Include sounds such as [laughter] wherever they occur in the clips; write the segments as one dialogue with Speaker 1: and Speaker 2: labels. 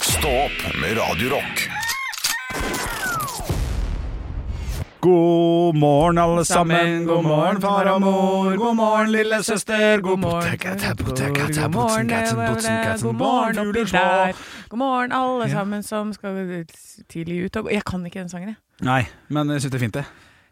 Speaker 1: Stå opp med Radio Rock.
Speaker 2: God morgen, alle sammen.
Speaker 3: sammen. God morgen, far og mor. God morgen, lille søster. God morgen,
Speaker 2: God
Speaker 3: God morgen, God morgen oppi der. God morgen, alle
Speaker 2: Ja.
Speaker 3: sammen som skal tidlig ut og gå. Jeg kan ikke den sangen, jeg.
Speaker 2: Nei, men jeg syns det er fint, det.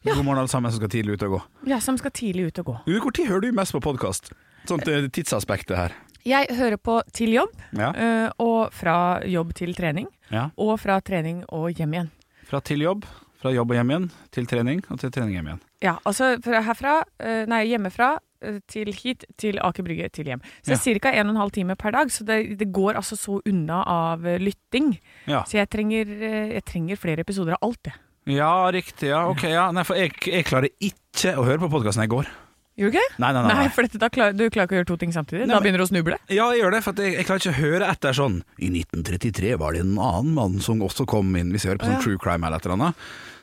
Speaker 2: God morgen, alle sammen som skal tidlig ut og gå.
Speaker 3: Jeg som skal tidlig ut og gå.
Speaker 2: Du, Hvor tid hører du mest på podkast? Sånt eh, tidsaspektet her.
Speaker 3: Jeg hører på til jobb,
Speaker 2: Ja.
Speaker 3: eh, og fra jobb til trening,
Speaker 2: ja.
Speaker 3: og fra trening og hjem igjen.
Speaker 2: Fra til jobb, fra jobb og hjem igjen, til trening, og til trening hjem igjen.
Speaker 3: Ja, altså fra herfra, eh, nei, hjemmefra eh, til hit, til Aker Brygge, til hjem. Så
Speaker 2: Ja.
Speaker 3: det er ca. 1 12 time per dag, så det, det går altså så unna av eh, lytting.
Speaker 2: Ja.
Speaker 3: Så jeg trenger, eh, jeg trenger flere episoder av alt, jeg.
Speaker 2: ja, riktig. Ja, ok. Ja. Nei, for jeg, jeg klarer ikke å høre på podkasten jeg går.
Speaker 3: Gjør du ikke? det?
Speaker 2: Nei, nei, nei.
Speaker 3: Nei,
Speaker 2: nei.
Speaker 3: for dette, da klar, du klarer ikke å gjøre to ting samtidig.
Speaker 2: Nei,
Speaker 3: da
Speaker 2: men-
Speaker 3: begynner du å snuble.
Speaker 2: Ja, jeg gjør det, for at jeg, jeg klarer ikke å høre etter sånn I 1933 var det en annen mann som også kom inn Hvis jeg hører på
Speaker 3: Å,
Speaker 2: sånn
Speaker 3: ja.
Speaker 2: true crime eller et eller annet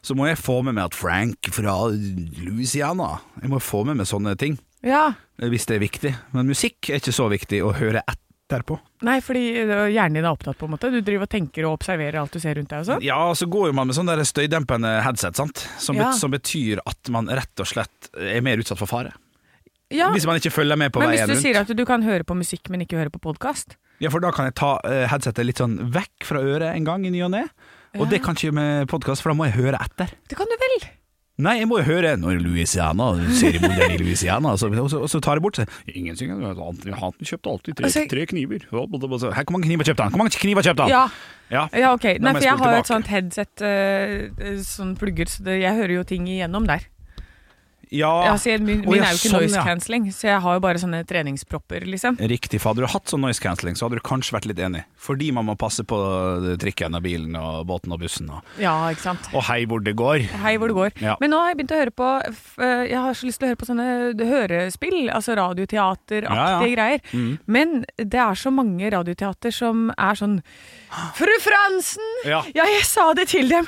Speaker 2: Så må jeg få med meg at Frank fra Louisiana Jeg må få med meg sånne ting
Speaker 3: Ja.
Speaker 2: eh, Hvis det er viktig Men musikk er ikke så viktig å høre etterpå
Speaker 3: Nei, fordi ø, hjernen din er opptatt, på en måte. Du driver og tenker og observerer alt du ser rundt deg og sånn.
Speaker 2: Ja, så går jo man med sånn der støydempende headset, sant? Som,
Speaker 3: Ja.
Speaker 2: bet som betyr at man rett og slett er mer utsatt for fare
Speaker 3: Ja.
Speaker 2: Hvis man ikke følger med liksom på
Speaker 3: Men hvis
Speaker 2: veien
Speaker 3: du
Speaker 2: rundt
Speaker 3: sier at du kan høre på musikk, men ikke høre på podkast
Speaker 2: Ja, for da kan jeg ta eh, headsetet litt sånn vekk fra øret en gang i ny og ned Og
Speaker 3: Ja.
Speaker 2: det kan ikke gjøre med podcast, for da må jeg høre etter
Speaker 3: Det kan du vel?
Speaker 2: Nei, jeg må jo høre når Louisiana seriemorderen i Louisiana og så, og, så, og så tar jeg bort det. Ingen synger Han kjøpte alltid tre,
Speaker 3: Altså-
Speaker 2: tre kniver. Her, hvor mange kniver kjøpte han? Hvor mange kniver kjøpte han?
Speaker 3: Ja.
Speaker 2: Ja.
Speaker 3: ja, ok.
Speaker 2: Da må jeg
Speaker 3: Nei, for
Speaker 2: spole
Speaker 3: jeg har jo et
Speaker 2: tilbake.
Speaker 3: sånt headset, ø, ø, sånn plugger, så det, jeg hører jo ting igjennom der.
Speaker 2: Ja.
Speaker 3: Altså, jeg, min
Speaker 2: Ah. Å,
Speaker 3: min
Speaker 2: ja,
Speaker 3: er jo ikke
Speaker 2: sånn,
Speaker 3: noise
Speaker 2: ja.
Speaker 3: cancelling, så jeg har jo bare sånne treningspropper, liksom.
Speaker 2: Riktig, for hadde du hatt sånn noise cancelling, så hadde du kanskje vært litt enig. Fordi man må passe på trikken og bilen og båten og bussen og,
Speaker 3: Ja, ikke sant.
Speaker 2: og hei hvor det går.
Speaker 3: Hei hvor det går.
Speaker 2: Ja.
Speaker 3: Men nå har jeg begynt å høre på f- eh, Jeg har så lyst til å høre på sånne eh, hørespill, altså radioteateraktige
Speaker 2: Ja, ja.
Speaker 3: greier.
Speaker 2: Mm.
Speaker 3: Men det er så mange radioteater som er sånn Fru Fransen!
Speaker 2: Ja.
Speaker 3: Ja, jeg sa det til dem.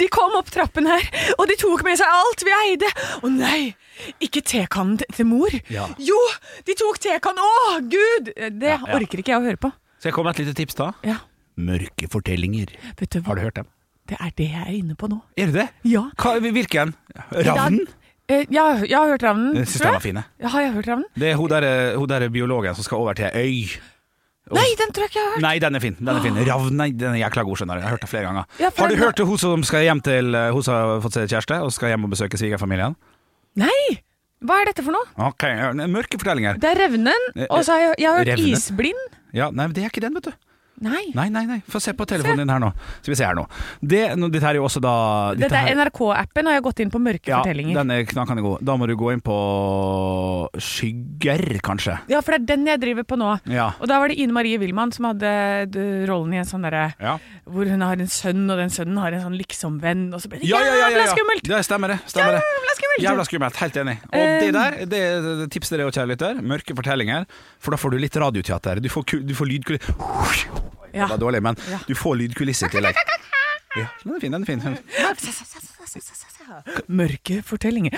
Speaker 3: De kom opp trappen her, og de tok med seg alt vi eide. Å nei, ikke tekannen til- til mor.
Speaker 2: Ja.
Speaker 3: Jo, de tok tekannen. Å, gud! Det
Speaker 2: Ja, ja.
Speaker 3: orker ikke jeg å høre på.
Speaker 2: Skal jeg komme med et lite tips, da?
Speaker 3: Ja,
Speaker 2: Mørke fortellinger.
Speaker 3: vet du hva.
Speaker 2: Har du hørt dem?
Speaker 3: Det er det jeg er inne på nå.
Speaker 2: Er det det?
Speaker 3: Ja.
Speaker 2: Hva, hvilken? Ravnen?
Speaker 3: Eh, ja, jeg har hørt Ravnen.
Speaker 2: Jeg syns
Speaker 3: tror
Speaker 2: den
Speaker 3: jeg.
Speaker 2: var fine.
Speaker 3: Ja, har jeg hørt Ravnen?
Speaker 2: Det er hun der, eh, hun der biologen som skal over til ei øy. Og-
Speaker 3: Nei, den tror jeg ikke jeg har hørt.
Speaker 2: Nei, den er fin. Den er fin. Ravn, nei, den er jækla god, skjønner du. Jeg har hørt det flere ganger.
Speaker 3: Ah. Ja, for
Speaker 2: har du
Speaker 3: den-
Speaker 2: hørt det, hun som skal hjem til eh, Hun som har fått seg kjæreste, og skal hjem og besøke svigerfamilien?
Speaker 3: Nei! Hva er dette for noe?
Speaker 2: Ok, ja, mørke fortellinger.
Speaker 3: Det er Revnen,
Speaker 2: Eh,
Speaker 3: og så har jeg, jeg har hørt
Speaker 2: Revnen?
Speaker 3: Isblind.
Speaker 2: Ja, nei, men det er ikke den, vet du.
Speaker 3: Nei.
Speaker 2: Nei, nei, nei. Få se på telefonen din her nå. Skal vi se her nå. Det, nå, dette her er jo også da
Speaker 3: Dette er
Speaker 2: her-
Speaker 3: NRK-appen, og jeg har gått inn på mørke
Speaker 2: ja,
Speaker 3: fortellinger.
Speaker 2: den er knakende god. Da må du gå inn på Skygger, kanskje.
Speaker 3: Ja, for det er den jeg driver på nå.
Speaker 2: Ja.
Speaker 3: Og da var det Ine Marie Wilman som hadde d- rollen i en sånn derre
Speaker 2: Ja.
Speaker 3: Hvor hun har en sønn, og den sønnen har en sånn liksom-venn, og så ble det
Speaker 2: Ja, ja, ja, ja,
Speaker 3: jævla
Speaker 2: ja.
Speaker 3: skummelt!
Speaker 2: Det stemmer, det. Stemmer det.
Speaker 3: Jævla skummelt!
Speaker 2: Jævla skummelt, helt enig. Og
Speaker 3: Eh,
Speaker 2: det der, det er tips til deg og kjære lytter. Mørke fortellinger, for da får du litt radioteater. Du får, ku- du får lydkulisser
Speaker 3: Ja.
Speaker 2: Det var dårlig, men
Speaker 3: Ja.
Speaker 2: du får lydkulisser i tillegg. Ja, den er fin, den er fin.
Speaker 3: Mørke fortellinger.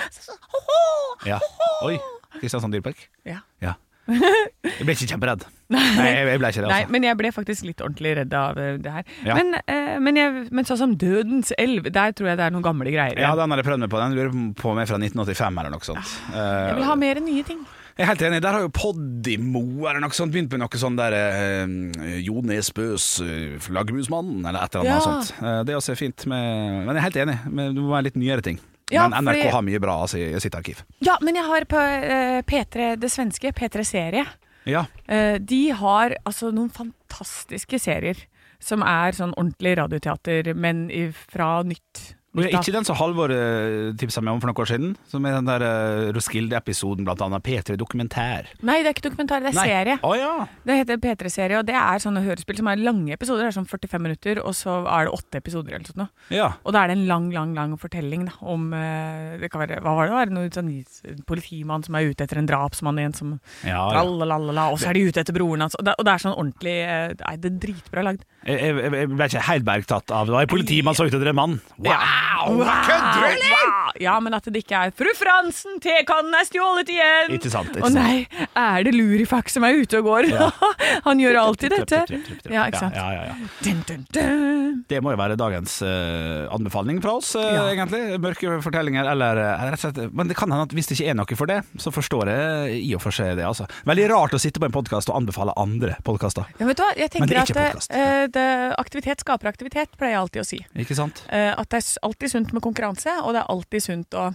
Speaker 2: Ja. Oi. Kristiansand Dyrepark?
Speaker 3: Ja.
Speaker 2: Ja. Jeg ble ikke kjemperedd. Nei, jeg jeg ble ikke det,
Speaker 3: [laughs] Nei,
Speaker 2: altså.
Speaker 3: men jeg ble faktisk litt ordentlig redd av eh, det her.
Speaker 2: Ja.
Speaker 3: Men, eh, men, jeg, men sånn som Dødens elv, der tror jeg det er noen gamle greier.
Speaker 2: Ja,
Speaker 3: igjen.
Speaker 2: den har jeg prøvd meg på. Den lurer på meg fra 1985 eller noe sånt.
Speaker 3: Jeg vil ha mer nye ting.
Speaker 2: Jeg er helt enig, der har jo Podimo eller noe sånt begynt med noe sånn der eh, Jo Nesbøs eh, Flaggermusmannen, eller et eller annet
Speaker 3: Ja.
Speaker 2: sånt. Eh, det er også fint med Men jeg er helt enig, men det må være litt nyere ting.
Speaker 3: Ja,
Speaker 2: men NRK
Speaker 3: fordi-
Speaker 2: har mye bra altså, i i sitt arkiv.
Speaker 3: Ja, men jeg har på eh, P3, det svenske, P3 Serie.
Speaker 2: Ja.
Speaker 3: Eh, de har altså noen fantastiske serier som er sånn ordentlig radioteater, men i- fra nytt.
Speaker 2: Og det
Speaker 3: nytt
Speaker 2: er
Speaker 3: av.
Speaker 2: ikke den som Halvor uh, tipsa meg om for noen år siden, som er den der eh, Roskilde-episoden, blant annet. P3 Dokumentær.
Speaker 3: Nei, det er ikke dokumentar, det er
Speaker 2: Nei.
Speaker 3: serie.
Speaker 2: Å ja.
Speaker 3: Det heter P3 Serie, og det er sånne hørespill som er lange episoder. Det er sånn 45 minutter, og så er det åtte episoder eller sånt noe.
Speaker 2: ja.
Speaker 3: Og da er det en lang, lang, lang fortelling da, om eh, det kan være, Hva var det? Var det noe sånn en politimann som er ute etter en drapsmann igjen som
Speaker 2: ja, Ah, ja.
Speaker 3: Tralalala, og så er de ute etter broren hans. Og det, og det er sånn ordentlig eh, Nei, det er dritbra lagd.
Speaker 2: Jeg, jeg, jeg ble ikke helt bergtatt av det. Det var en politimann som så ut etter en mann. Wow!
Speaker 3: Ja.
Speaker 2: Wow! Kødder du, eller?
Speaker 3: Wow! Ja, men at det ikke er 'Fru Fransen, tekannen er stjålet igjen'.
Speaker 2: Ikke sant, ikke
Speaker 3: Å nei, er det Lurifax som er ute og går? [laughs] Han gjør alltid
Speaker 2: Tripp,
Speaker 3: dette.
Speaker 2: tripp, tripp, tripp, tripp.
Speaker 3: Ja, ikke sant.
Speaker 2: Ja, ja, ja.
Speaker 3: Dun, dun, dun.
Speaker 2: Det må jo være dagens eh, anbefaling fra oss, eh,
Speaker 3: Ja.
Speaker 2: egentlig. Mørke fortellinger, eller eh, rett og slett Men det kan hende at hvis det ikke er noe for det, så forstår jeg i og for seg det, altså. Veldig rart å sitte på en podkast og anbefale andre podkaster,
Speaker 3: Ja, vet du hva? Jeg
Speaker 2: Men det
Speaker 3: tenker
Speaker 2: er
Speaker 3: at
Speaker 2: ikke podcast.
Speaker 3: eh, det, aktivitet skaper aktivitet, pleier jeg alltid å si.
Speaker 2: ikke sant?
Speaker 3: Eh, at det er s- alltid sunt med konkurranse, og det er alltid sunt å,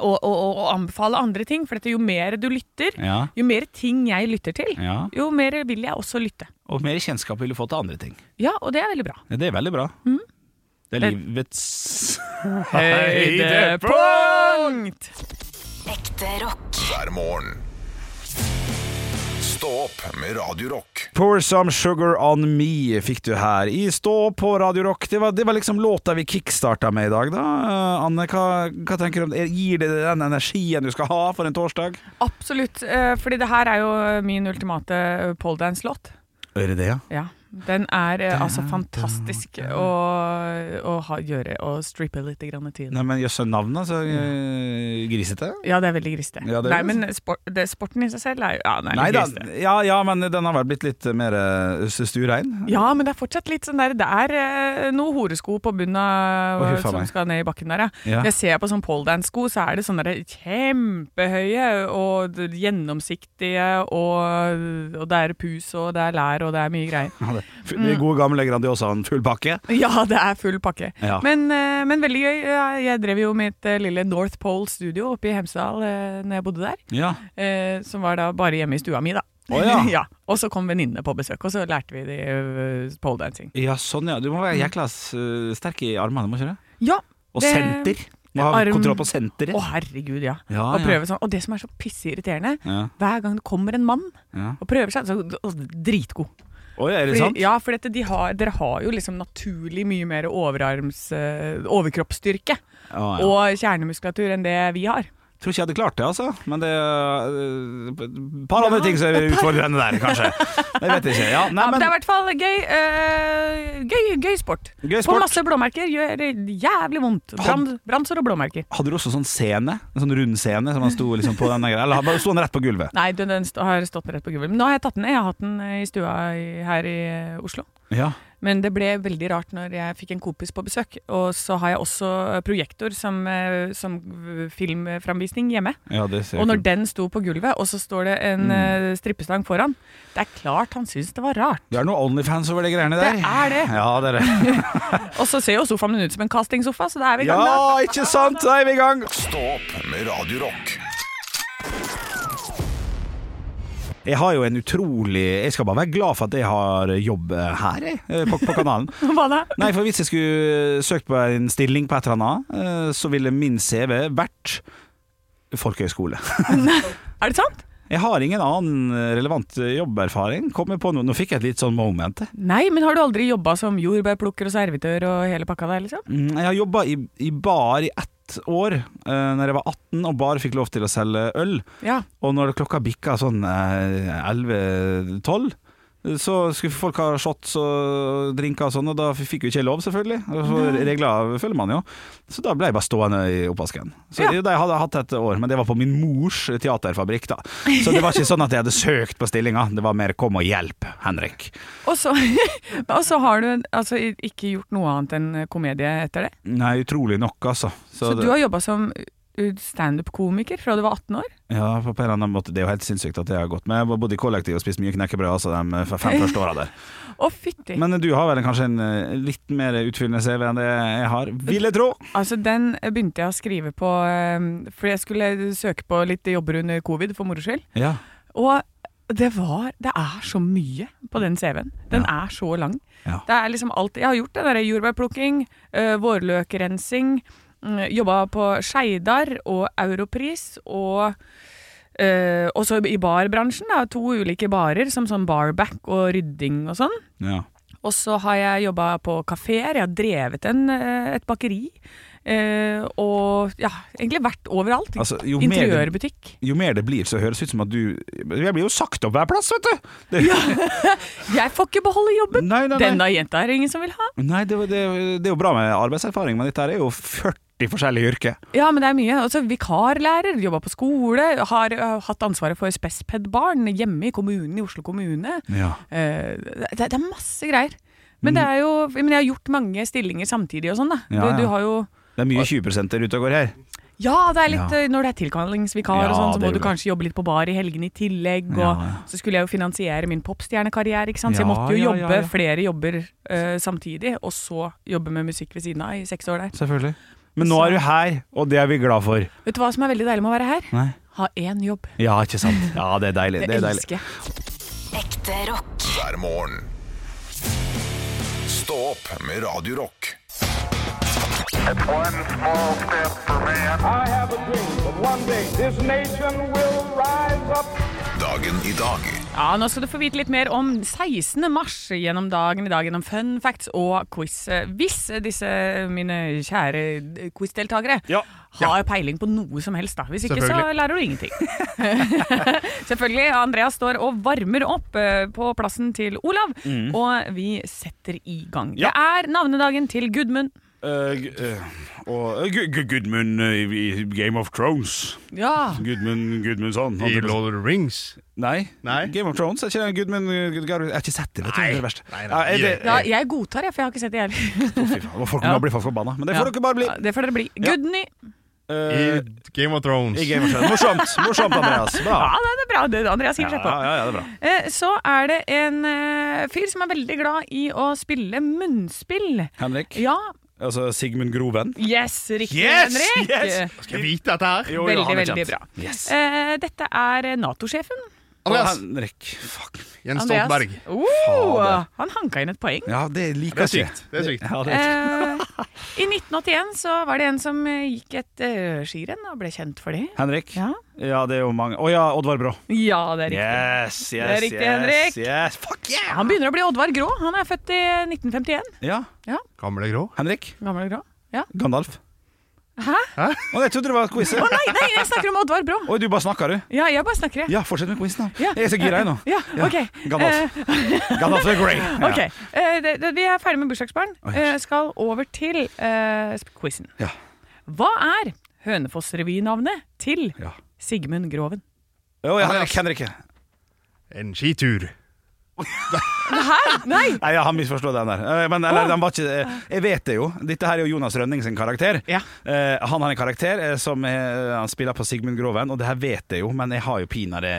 Speaker 3: å, å, å- å anbefale andre ting. For dette, jo mer du lytter,
Speaker 2: Ja.
Speaker 3: jo mer ting jeg lytter til,
Speaker 2: ja.
Speaker 3: jo mer vil jeg også lytte.
Speaker 2: Og mer kjennskap vil du få til andre ting.
Speaker 3: Ja, og det er veldig bra.
Speaker 2: Ja, Det er veldig bra. Det er
Speaker 3: Mm. Det-
Speaker 2: livets
Speaker 3: Høydepunkt!
Speaker 4: Ekte rock.
Speaker 1: hver morgen. Stå opp med Radio Rock.
Speaker 2: Pour Some Sugar On Me fikk du her i Stå på Radio Rock. Det var, det var liksom låta vi kickstarta med i dag, da. Eh, Anne, hva, hva tenker du om det? Gir det den energien du skal ha for en torsdag?
Speaker 3: Absolutt, eh, fordi det her er jo min ultimate eh, poledance-låt.
Speaker 2: Gjør det det, ja?
Speaker 3: Ja. Den er eh, altså fantastisk å, å ha, gjøre og strippe litt grann til.
Speaker 2: Nei, men jøsse navnet, så eh, grisete.
Speaker 3: Ja, det er veldig grisete.
Speaker 2: Ja, det er
Speaker 3: Nei,
Speaker 2: det.
Speaker 3: men spor det, sporten i seg selv er jo ja, den er
Speaker 2: Nei
Speaker 3: litt
Speaker 2: da,
Speaker 3: grisete.
Speaker 2: ja, ja, men den har vel blitt litt mer eh, stuerein.
Speaker 3: Ja, men det er fortsatt litt sånn der Det er eh, noe horesko på bunnen av,
Speaker 2: Å, fy faen
Speaker 3: som
Speaker 2: meg.
Speaker 3: skal ned i bakken der, ja.
Speaker 2: Ja.
Speaker 3: Jeg ser på sånn poledance-sko, så er det sånne der kjempehøye og d- gjennomsiktige, og, og det er pus, og det er lær, og det er mye greier. [laughs]
Speaker 2: Ja, det- De gode gamle Grandiosaen, full pakke.
Speaker 3: Ja, det er full pakke.
Speaker 2: Ja.
Speaker 3: Men, eh, men veldig gøy. Jeg- Jeg drev jo mitt eh, lille North Pole studio oppe i Hemsedal eh, når jeg bodde der,
Speaker 2: Ja.
Speaker 3: eh, som var da bare hjemme i stua mi, da.
Speaker 2: Å,
Speaker 3: [laughs]
Speaker 2: ja.
Speaker 3: Og så kom venninnene på besøk, og så lærte vi de eh, poledancing.
Speaker 2: ja, sånn ja. Du må være jækla eh, sterk i armene, må ikke du?
Speaker 3: Ja,
Speaker 2: Og
Speaker 3: Det-
Speaker 2: senter. Må ha
Speaker 3: Arm-
Speaker 2: kontroll på senteret.
Speaker 3: Å, herregud, ja.
Speaker 2: Ja, Ah,
Speaker 3: Og,
Speaker 2: ja.
Speaker 3: prøve sånn. og det som er så pissirriterende,
Speaker 2: Ja,
Speaker 3: hver gang det kommer en mann
Speaker 2: ja.
Speaker 3: og prøver seg, så og, dritgod.
Speaker 2: Oi, er det sant?
Speaker 3: Fordi, ja, for dette, de har, dere har jo liksom naturlig mye mer overarms, eh, overkroppsstyrke
Speaker 2: Å, Ah, ja.
Speaker 3: og kjernemuskulatur enn det vi har.
Speaker 2: Tror ikke jeg hadde klart det, altså. Men det er øh, et par andre
Speaker 3: Ja,
Speaker 2: ting
Speaker 3: [laughs]
Speaker 2: som er utfordrende der, kanskje. Jeg vet ikke. Ja, nei,
Speaker 3: Ja, men
Speaker 2: men
Speaker 3: det er i hvert fall gøy, eh, gøy, gøy sport.
Speaker 2: Gøy
Speaker 3: På
Speaker 2: sport.
Speaker 3: masse blåmerker gjør det jævlig vondt. Brann- Brannsår og blåmerker.
Speaker 2: hadde du også sånn scene? En sånn rund scene som han sto liksom på denne greia? Eller sto han rett på gulvet?
Speaker 3: Nei, den, den st- har stått rett på gulvet. Men nå har jeg tatt den ned. Jeg har hatt den eh, i stua i, her i eh, Oslo.
Speaker 2: Ja.
Speaker 3: Men det ble veldig rart når jeg fikk en kompis på besøk. Og så har jeg også projektor som, eh, som filmframvisning hjemme.
Speaker 2: ja det ser
Speaker 3: Og når
Speaker 2: jeg.
Speaker 3: den sto på gulvet, og så står det en eh, strippestang foran Det er klart han syns det var rart.
Speaker 2: Det er noe Onlyfans over de greiene der.
Speaker 3: Det er det.
Speaker 2: Ja, det er det.
Speaker 3: Og så ser jo sofaen min ut som en castingsofa, så da er [laughs] vi i
Speaker 2: ja,
Speaker 3: gang, da.
Speaker 2: ikke sant? Da er vi i gang.
Speaker 1: Stå opp med Radio Rock
Speaker 2: Jeg har jo en utrolig Jeg skal bare være glad for at jeg har jobb eh, her, jeg, eh, på, på kanalen.
Speaker 3: [laughs] Hva da?
Speaker 2: Nei, for hvis jeg skulle søkt på en stilling på et eller annet, eh, så ville min CV vært folkehøyskole.
Speaker 3: Er det sant?
Speaker 2: Jeg har ingen annen relevant jobberfaring. Kommer på noe. Nå fikk jeg et litt sånn moment. jeg.
Speaker 3: Nei, men har du aldri jobba som jordbærplukker og servitør og hele pakka der, liksom?
Speaker 2: Mm, Jeg har jobba i, i bar i ett år, eh, Når jeg var 18 og bare fikk lov til å selge øl.
Speaker 3: Ja.
Speaker 2: Og når klokka bikka sånn eh, 11-12 så skulle folk ha shots og drinker og sånn, og da fikk jo ikke jeg lov, selvfølgelig. Og så Regler følger man jo. Så da ble jeg bare stående i oppvasken. Så
Speaker 3: Ja.
Speaker 2: det, det hadde jeg hatt et år, men det var på min mors teaterfabrikk, da. Så det var ikke sånn at jeg hadde søkt på stillinga, det var mer 'kom og hjelp, Henrik'.
Speaker 3: Og så, [laughs] og så har du altså i- ikke gjort noe annet enn komedie etter det?
Speaker 2: Nei, utrolig nok, altså.
Speaker 3: Så,
Speaker 2: det-
Speaker 3: du har jobba som uh, standup-komiker fra du var 18 år?
Speaker 2: Ja, på en eller annen måte. Det er jo helt sinnssykt at jeg har gått med. Jeg har bodd i kollektiv og spist mye knekkebrød altså, de fem første åra der.
Speaker 3: Å, fytti!
Speaker 2: Men du har vel kanskje en eh, litt mer utfyllende CV enn det jeg har, vil jeg tro.
Speaker 3: Altså, den begynte jeg å skrive på eh, Fordi jeg skulle søke på litt jobber under covid, for moro skyld.
Speaker 2: Ja.
Speaker 3: Og det var Det er så mye på den CV-en. Den er så lang.
Speaker 2: Ja.
Speaker 3: Det er liksom alt Jeg har gjort det derre jordbærplukking, eh, vårløkrensing, mm, jobba på Skeidar og Europris og eh, også i barbransjen, da. To ulike barer, som sånn barback og rydding og sånn.
Speaker 2: ja.
Speaker 3: Og så har jeg jobba på kafeer, jeg har drevet en, eh, et bakeri Eh, og ja, egentlig vært overalt.
Speaker 2: Altså, jo mer det-
Speaker 3: Interiørbutikk.
Speaker 2: Jo mer det blir, så høres det ut som at du Jeg blir jo sagt opp hver plass, vet du! Det,
Speaker 3: Jeg får ikke beholde jobben!
Speaker 2: Nei, nei, nei.
Speaker 3: Denne jenta er det ingen som vil ha.
Speaker 2: Nei, det, det, det er jo bra med arbeidserfaring, men dette her er jo 40 forskjellige yrker.
Speaker 3: Ja, men det er mye. Altså, vikarlærer, jobba på skole, har uh, hatt ansvaret for spesped-barn hjemme i kommunen, i Oslo kommune.
Speaker 2: Ja.
Speaker 3: Eh, det, det er masse greier. Men, det er jo, men jeg har gjort mange stillinger samtidig og sånn, da.
Speaker 2: Mm. Ja,
Speaker 3: Du-
Speaker 2: ja.
Speaker 3: Du har jo
Speaker 2: Det er mye 20 der ute og går her.
Speaker 3: Ja, det er litt,
Speaker 2: Ja.
Speaker 3: eh, når det er tilkallingsvikar
Speaker 2: Ja,
Speaker 3: og sånn, så
Speaker 2: det
Speaker 3: må
Speaker 2: er
Speaker 3: du
Speaker 2: jo det.
Speaker 3: kanskje jobbe litt på bar i helgene i tillegg. Og
Speaker 2: Ja, ja.
Speaker 3: så skulle jeg jo finansiere min popstjernekarriere, ikke sant? så jeg
Speaker 2: Ja,
Speaker 3: måtte jo
Speaker 2: ja, ja,
Speaker 3: jobbe
Speaker 2: ja.
Speaker 3: flere jobber eh, samtidig, og så jobbe med musikk ved siden av i seks år der.
Speaker 2: Selvfølgelig. Men nå er du her, og det er vi glad for.
Speaker 3: Vet du hva som er veldig deilig med å være her?
Speaker 2: Nei.
Speaker 3: Ha én jobb.
Speaker 2: Ja, ikke sant. Ja, det er deilig.
Speaker 3: Det,
Speaker 2: Det er deilig.
Speaker 3: elsker jeg.
Speaker 4: Ekte rock.
Speaker 1: hver morgen. Stå opp med Radio Rock.
Speaker 5: One small step for man.
Speaker 6: I have a dream that one day this nation will rise up.
Speaker 1: Dagen i dag
Speaker 3: Ja, Nå skal du få vite litt mer om 16. mars gjennom dagen i dag, gjennom fun facts og quiz. Hvis disse mine kjære quizdeltakere
Speaker 2: Ja.
Speaker 3: har peiling på noe som helst, da. Hvis ikke så
Speaker 2: Selvfølgelig.
Speaker 3: lærer du ingenting. [laughs] Selvfølgelig. Andreas står og varmer opp eh, på plassen til Olav, og vi setter i gang.
Speaker 2: Mm. Ja.
Speaker 3: Det er navnedagen til Gudmund.
Speaker 2: Eh, gu- eh, og eh, gu- gu- Gudmund eh, i i Game of Thrones.
Speaker 3: Ja.
Speaker 2: Gudmund Gudmundsson.
Speaker 7: I Lord of the Rings?
Speaker 2: Nei.
Speaker 7: Nei.
Speaker 2: Game of Thrones er ikke det Gudmund Gudgaard Jeg har ikke sett det, vet du.
Speaker 7: Nei.
Speaker 2: Det er det verste.
Speaker 7: Nei,
Speaker 2: Ja,
Speaker 7: nei,
Speaker 2: er det,
Speaker 3: ja jeg godtar, jeg, for jeg har ikke sett det heller.
Speaker 2: Å, fy faen. Nå Folk
Speaker 3: Ja.
Speaker 2: nå blir folk forbanna. Men det får
Speaker 3: Ja.
Speaker 2: dere bare bli.
Speaker 3: Ja, Det får dere bli.
Speaker 2: Ja.
Speaker 3: Gudny.
Speaker 2: Eh,
Speaker 7: I Game of Thrones.
Speaker 2: I Game of Thrones. Morsomt, morsomt Andreas.
Speaker 3: Ja,
Speaker 2: Bra.
Speaker 3: det er bra. Det- Andreas hiver
Speaker 2: Ja,
Speaker 3: seg på.
Speaker 2: ja, ja, det er bra.
Speaker 3: Eh, Så er det en eh, fyr som er veldig glad i å spille munnspill.
Speaker 2: Henrik.
Speaker 3: Ja.
Speaker 2: Altså Sigmund Groven.
Speaker 3: Yes, riktig,
Speaker 2: Yes,
Speaker 3: Henrik.
Speaker 2: yes.
Speaker 7: Skal jeg vite dette her?
Speaker 2: Jo, jo,
Speaker 3: Veldig,
Speaker 2: han er
Speaker 3: veldig
Speaker 2: kjent.
Speaker 3: bra.
Speaker 2: Yes.
Speaker 3: Eh, Dette er Nato-sjefen.
Speaker 2: Og
Speaker 7: Andreas.
Speaker 2: Henrik. Fuck.
Speaker 7: Jens Stoltenberg.
Speaker 3: Oh,
Speaker 2: Fader.
Speaker 3: han hanka inn et poeng.
Speaker 2: Ja, det liker
Speaker 7: Det
Speaker 2: [laughs]
Speaker 7: er
Speaker 2: jeg ikke.
Speaker 7: sykt. Det er sykt.
Speaker 2: Ja, det er
Speaker 3: Eh, I 1981 så var det en som eh, gikk et eh, skirenn og ble kjent for det.
Speaker 2: Henrik.
Speaker 3: Eh, Ja,
Speaker 2: Ja, det er jo mange Å ja, Oddvar Brå.
Speaker 3: ja det er riktig.
Speaker 2: Yes, yes,
Speaker 3: Det er riktig, Henrik.
Speaker 2: yes, yes. Fuck yeah!
Speaker 3: Han begynner å bli Oddvar Grå. Han er født i 1951.
Speaker 2: Ja,
Speaker 7: Gamle grå.
Speaker 2: Henrik.
Speaker 3: Gamle Grå. Ja.
Speaker 2: Gandalf.
Speaker 3: Hæ?
Speaker 2: Å, jeg trodde det var quiz.
Speaker 3: Å nei, nei, jeg snakker om Oddvar Brå.
Speaker 2: Oi, du bare snakker, du.
Speaker 3: Ja, jeg bare snakker, jeg.
Speaker 2: Ja, fortsett med quizen, da.
Speaker 3: Ja.
Speaker 2: Jeg er så gira, jeg nå.
Speaker 3: Ja, ok. Eh,
Speaker 2: Gandalf. Gandalf the
Speaker 3: [laughs]
Speaker 2: Grey. Ja.
Speaker 3: Ok, eh, det, det, Vi er ferdig med bursdagsbarn.
Speaker 2: Oi.
Speaker 3: Eh, skal over til eh, sp- quizen.
Speaker 2: Ja.
Speaker 3: Hva er Hønefoss-revynavnet til
Speaker 2: Ja.
Speaker 3: Sigmund Groven?
Speaker 2: Å ja, Henrik. Henrik.
Speaker 7: En skitur.
Speaker 3: Nei!
Speaker 2: Nei, ja, han misforstod den der. Eh, Men eller, den var ikke eh, Jeg vet det jo. Dette her er jo Jonas Rønning sin karakter.
Speaker 3: Ja.
Speaker 2: Eh, han har en karakter eh, som eh, han spiller på Sigmund Groven, og det her vet jeg jo, men jeg har jo pinadø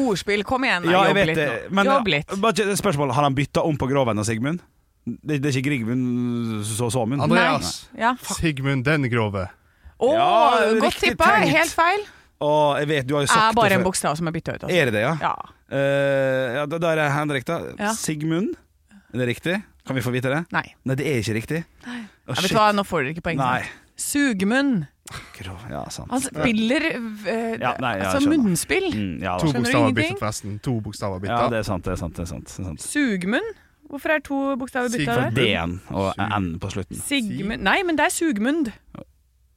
Speaker 3: Ordspill, kom igjen. da,
Speaker 2: Ja, jeg
Speaker 3: jobb
Speaker 2: vet
Speaker 3: litt
Speaker 2: det.
Speaker 3: nå.
Speaker 2: Men eh,
Speaker 3: jobb litt.
Speaker 2: bare ikke- spørsmål, har han bytta om på Groven og Sigmund? Det, det er ikke Grigmund så Såmund?
Speaker 7: Andreas.
Speaker 3: Ja.
Speaker 7: Sigmund den grove.
Speaker 3: Å,
Speaker 2: Ja,
Speaker 3: godt
Speaker 2: riktig
Speaker 3: tippa.
Speaker 2: tenkt.
Speaker 3: Helt feil.
Speaker 2: Og jeg vet, du har jo sagt
Speaker 3: Er bare
Speaker 2: det
Speaker 3: en
Speaker 2: før.
Speaker 3: bokstav som er bytta ut. Altså.
Speaker 2: Er det det, ja?
Speaker 3: Ja.
Speaker 2: Eh, ja da, da er det Henrik, da.
Speaker 3: Ja.
Speaker 2: Sigmund. Er det riktig? Kan vi få vite det?
Speaker 3: Nei.
Speaker 2: Nei, det er ikke riktig. Å,
Speaker 3: Ja, vet
Speaker 2: shit.
Speaker 3: du hva, nå får dere ikke poeng.
Speaker 2: Nei.
Speaker 3: Sugmunn.
Speaker 2: Grov- Ja, sant.
Speaker 3: Han spiller eh,
Speaker 2: Ja, nei, jeg
Speaker 3: altså
Speaker 2: skjønner.
Speaker 3: munnspill.
Speaker 2: Mm, ja, da.
Speaker 7: To
Speaker 3: Skjønner du
Speaker 7: bokstaver
Speaker 3: ingenting?
Speaker 7: byttet, forresten. To bokstaver byttet.
Speaker 2: Ja, det er sant. det er sant, det er sant, det er sant.
Speaker 3: Sugmunn? Hvorfor er to bokstaver bytta
Speaker 7: Sigmund.
Speaker 3: ut?
Speaker 2: D-en og N på slutten.
Speaker 3: Sigmund Nei, men det er Sugmund.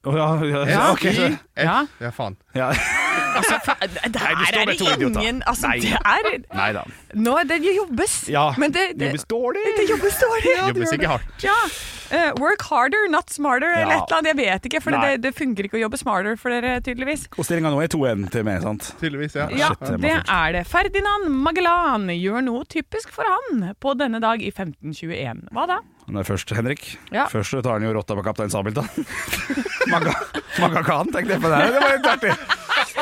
Speaker 2: Å ja, ja,
Speaker 7: S,
Speaker 2: ja, ok,
Speaker 7: I,
Speaker 2: så-
Speaker 7: F.
Speaker 3: Ja.
Speaker 7: Ja, faen.
Speaker 2: ja.
Speaker 3: Det
Speaker 2: du
Speaker 3: her
Speaker 2: står
Speaker 3: er
Speaker 2: med
Speaker 3: det
Speaker 2: to idioter.
Speaker 3: ingen Altså,
Speaker 2: Nei.
Speaker 3: det er
Speaker 2: Nei da.
Speaker 3: Nå, det jobbes.
Speaker 2: Ja,
Speaker 3: men det, det,
Speaker 2: jobbes dårlig.
Speaker 3: Det jobbes dårlig. Ja,
Speaker 7: Jobber sikkert hardt.
Speaker 3: Ja. Eh, work harder, not smarter, eller
Speaker 2: Ja.
Speaker 3: et eller annet. Jeg vet ikke, for
Speaker 2: Nei.
Speaker 3: det, det funker ikke å jobbe smarter for dere, tydeligvis.
Speaker 2: Og stillinga nå er 2-1 til meg, sant?
Speaker 7: Tydeligvis, ja.
Speaker 3: Ja,
Speaker 2: Shit, det må
Speaker 3: det
Speaker 2: funke.
Speaker 3: er det. Ferdinand Magellan gjør noe typisk for han på denne dag i 1521. Hva da?
Speaker 2: Når først Henrik
Speaker 3: Ja.
Speaker 2: Først så tar han jo rotta på kaptein Sabeltann. [laughs] Maga, Maga Khan, tenkte jeg på det. her. Det var litt artig.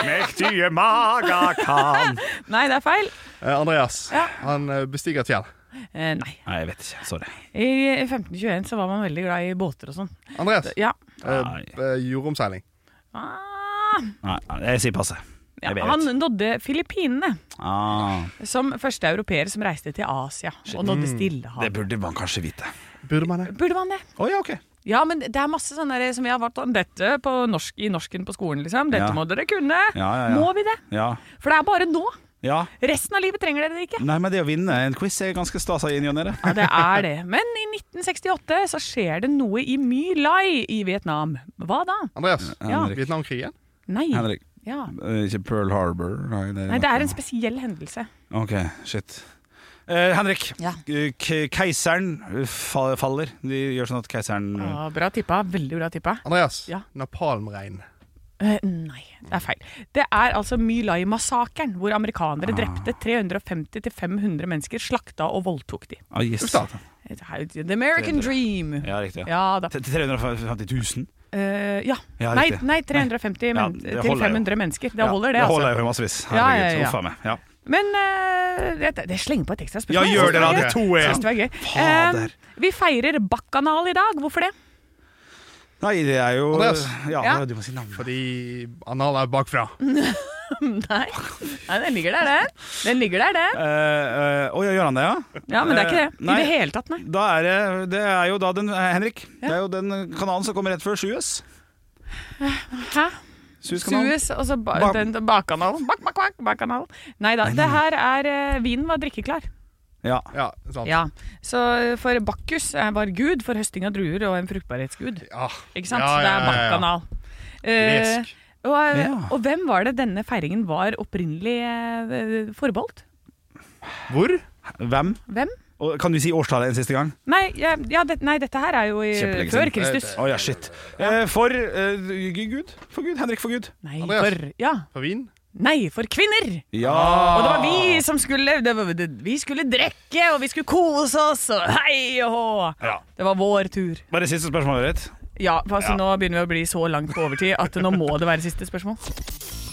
Speaker 2: Mektige Maga Khan.
Speaker 3: Nei, det er feil.
Speaker 7: [laughs] Eh, Andreas.
Speaker 3: Ja.
Speaker 7: Han eh, bestiger et fjell.
Speaker 3: Eh, nei.
Speaker 2: Nei, jeg vet ikke. Sorry.
Speaker 3: I 1521 så var man veldig glad i båter og sånn.
Speaker 7: Andreas.
Speaker 3: Ja.
Speaker 7: Eh, eh, jordomseiling.
Speaker 3: Ah,
Speaker 2: Nei, nei, jeg sier passe.
Speaker 3: ja.
Speaker 2: Jeg vet.
Speaker 3: Han nådde Filippinene.
Speaker 2: Ah,
Speaker 3: Som første europeer som reiste til Asia og
Speaker 2: Mm.
Speaker 3: nådde
Speaker 2: det
Speaker 3: Stillehavet.
Speaker 2: burde man kanskje vite.
Speaker 7: Burde man det?
Speaker 3: Burde man det?
Speaker 2: Å ja, ok.
Speaker 3: Ja, men det er masse sånne der som vi har vært om dette på norsk, i norsken på skolen, liksom. Dette
Speaker 2: Ja.
Speaker 3: må dere kunne.
Speaker 2: Ja, ja, ja.
Speaker 3: Må vi det?
Speaker 2: Ja.
Speaker 3: For det er bare nå
Speaker 2: Ja.
Speaker 3: Resten av livet trenger dere det ikke.
Speaker 2: Nei, men det å vinne en quiz er ganske stas i ny og ne.
Speaker 3: Ja, det er det. Men i 1968 så skjer det noe i My Lai i Vietnam. Hva da?
Speaker 7: Andreas,
Speaker 3: Ja.
Speaker 2: Henrik.
Speaker 7: Vietnamkrigen?
Speaker 3: Nei.
Speaker 2: Henrik.
Speaker 3: Ja.
Speaker 2: Eh, Ikke Pearl Harbor? Nei, det
Speaker 3: Nei, det er en spesiell hendelse.
Speaker 2: Ok, shit. Eh, Henrik.
Speaker 3: Ja.
Speaker 2: Eh, K keiseren eh, fa faller. De gjør sånn at keiseren eh,
Speaker 3: Ja, bra tippa. Veldig bra tippa.
Speaker 7: Andreas,
Speaker 3: Ja.
Speaker 7: napalmregn.
Speaker 3: Eh, nei, det er feil. Det er altså My Lai-massakren, hvor amerikanere
Speaker 2: Ah.
Speaker 3: drepte 350-500 mennesker, slakta og voldtok de.
Speaker 2: ah, yes.
Speaker 7: Uff da.
Speaker 3: Det er jo The American Dream.
Speaker 2: Ja, riktig. Ja.
Speaker 3: Ja da.
Speaker 2: Til- til 350 000?
Speaker 3: Eh, ja.
Speaker 2: Ja,
Speaker 3: Nei,
Speaker 2: riktig.
Speaker 3: nei 350
Speaker 2: Ja,
Speaker 3: men,
Speaker 2: det holder
Speaker 3: til
Speaker 2: jo.
Speaker 3: 500 mennesker. Det holder, det.
Speaker 2: Ja, det
Speaker 3: altså.
Speaker 2: holder jo i massevis.
Speaker 3: Ja, ja,
Speaker 2: Herregud.
Speaker 3: ja.
Speaker 2: Uff a meg. Ja.
Speaker 3: Men eh, det, det slenger på et ekstra
Speaker 2: ja,
Speaker 3: spørsmål.
Speaker 2: gjør det, da! Det
Speaker 3: Synes
Speaker 2: er
Speaker 3: var gøy.
Speaker 2: to E.
Speaker 3: Synes
Speaker 2: igjen!
Speaker 3: det var gøy.
Speaker 2: Fader.
Speaker 3: Eh, vi feirer Bakkanal i dag. Hvorfor det? [laughs]
Speaker 2: Nei, det er jo
Speaker 7: Andreas.
Speaker 2: Ja,
Speaker 3: Ja.
Speaker 2: du må si navnet.
Speaker 7: Fordi anal er bakfra.
Speaker 3: Nei, nei den ligger der, den. Den ligger der, den.
Speaker 2: Eh, eh, Å ja, gjør han det, ja?
Speaker 3: Ja, men det er ikke det.
Speaker 2: Nei.
Speaker 3: I det hele tatt, nei.
Speaker 2: Da er det, det er jo da den eh, Henrik, det er jo den kanalen som kommer rett før Suez.
Speaker 3: Hæ?
Speaker 2: Suezkanalen.
Speaker 3: Suez, og så ba
Speaker 2: Bak-
Speaker 3: den, bakkanal. Bak, bak, bak, bakkanal. Nei da. Det her er eh, Vinen var drikkeklar.
Speaker 2: Ja.
Speaker 7: Ja, sant.
Speaker 3: Ja. Så eh, for Bakkus eh, var gud for høsting av druer og en fruktbarhetsgud.
Speaker 7: Ja.
Speaker 3: Ikke sant?
Speaker 7: Ja, ja,
Speaker 3: Det er
Speaker 7: ja, ja.
Speaker 3: bakkanal. Eh,
Speaker 7: Lesk.
Speaker 3: og, eh,
Speaker 2: Ja.
Speaker 3: og hvem var det denne feiringen var opprinnelig eh, forbeholdt?
Speaker 7: Hvor?
Speaker 2: Hvem?
Speaker 3: Hvem?
Speaker 2: Og, kan du si årstallet en siste gang?
Speaker 3: Nei, ja, ja, det, nei dette her er jo i,
Speaker 2: Kjempelenge
Speaker 3: Eh, før
Speaker 2: siden.
Speaker 3: Kristus.
Speaker 2: Å ja, shit. Eh, for eh, Gud. For Gud. Henrik for Gud.
Speaker 3: Nei,
Speaker 7: Andreas.
Speaker 3: for Ja.
Speaker 7: På Wien?
Speaker 3: Nei, for kvinner!
Speaker 2: Ja.
Speaker 3: Og det var vi som skulle det var, det, Vi skulle drikke, og vi skulle kose oss, og hei og hå!
Speaker 2: Ja.
Speaker 3: Det var vår tur.
Speaker 2: Var det siste spørsmålet ditt?
Speaker 3: Ja, for altså, Nå begynner vi å bli så langt på overtid at nå må det være siste spørsmål.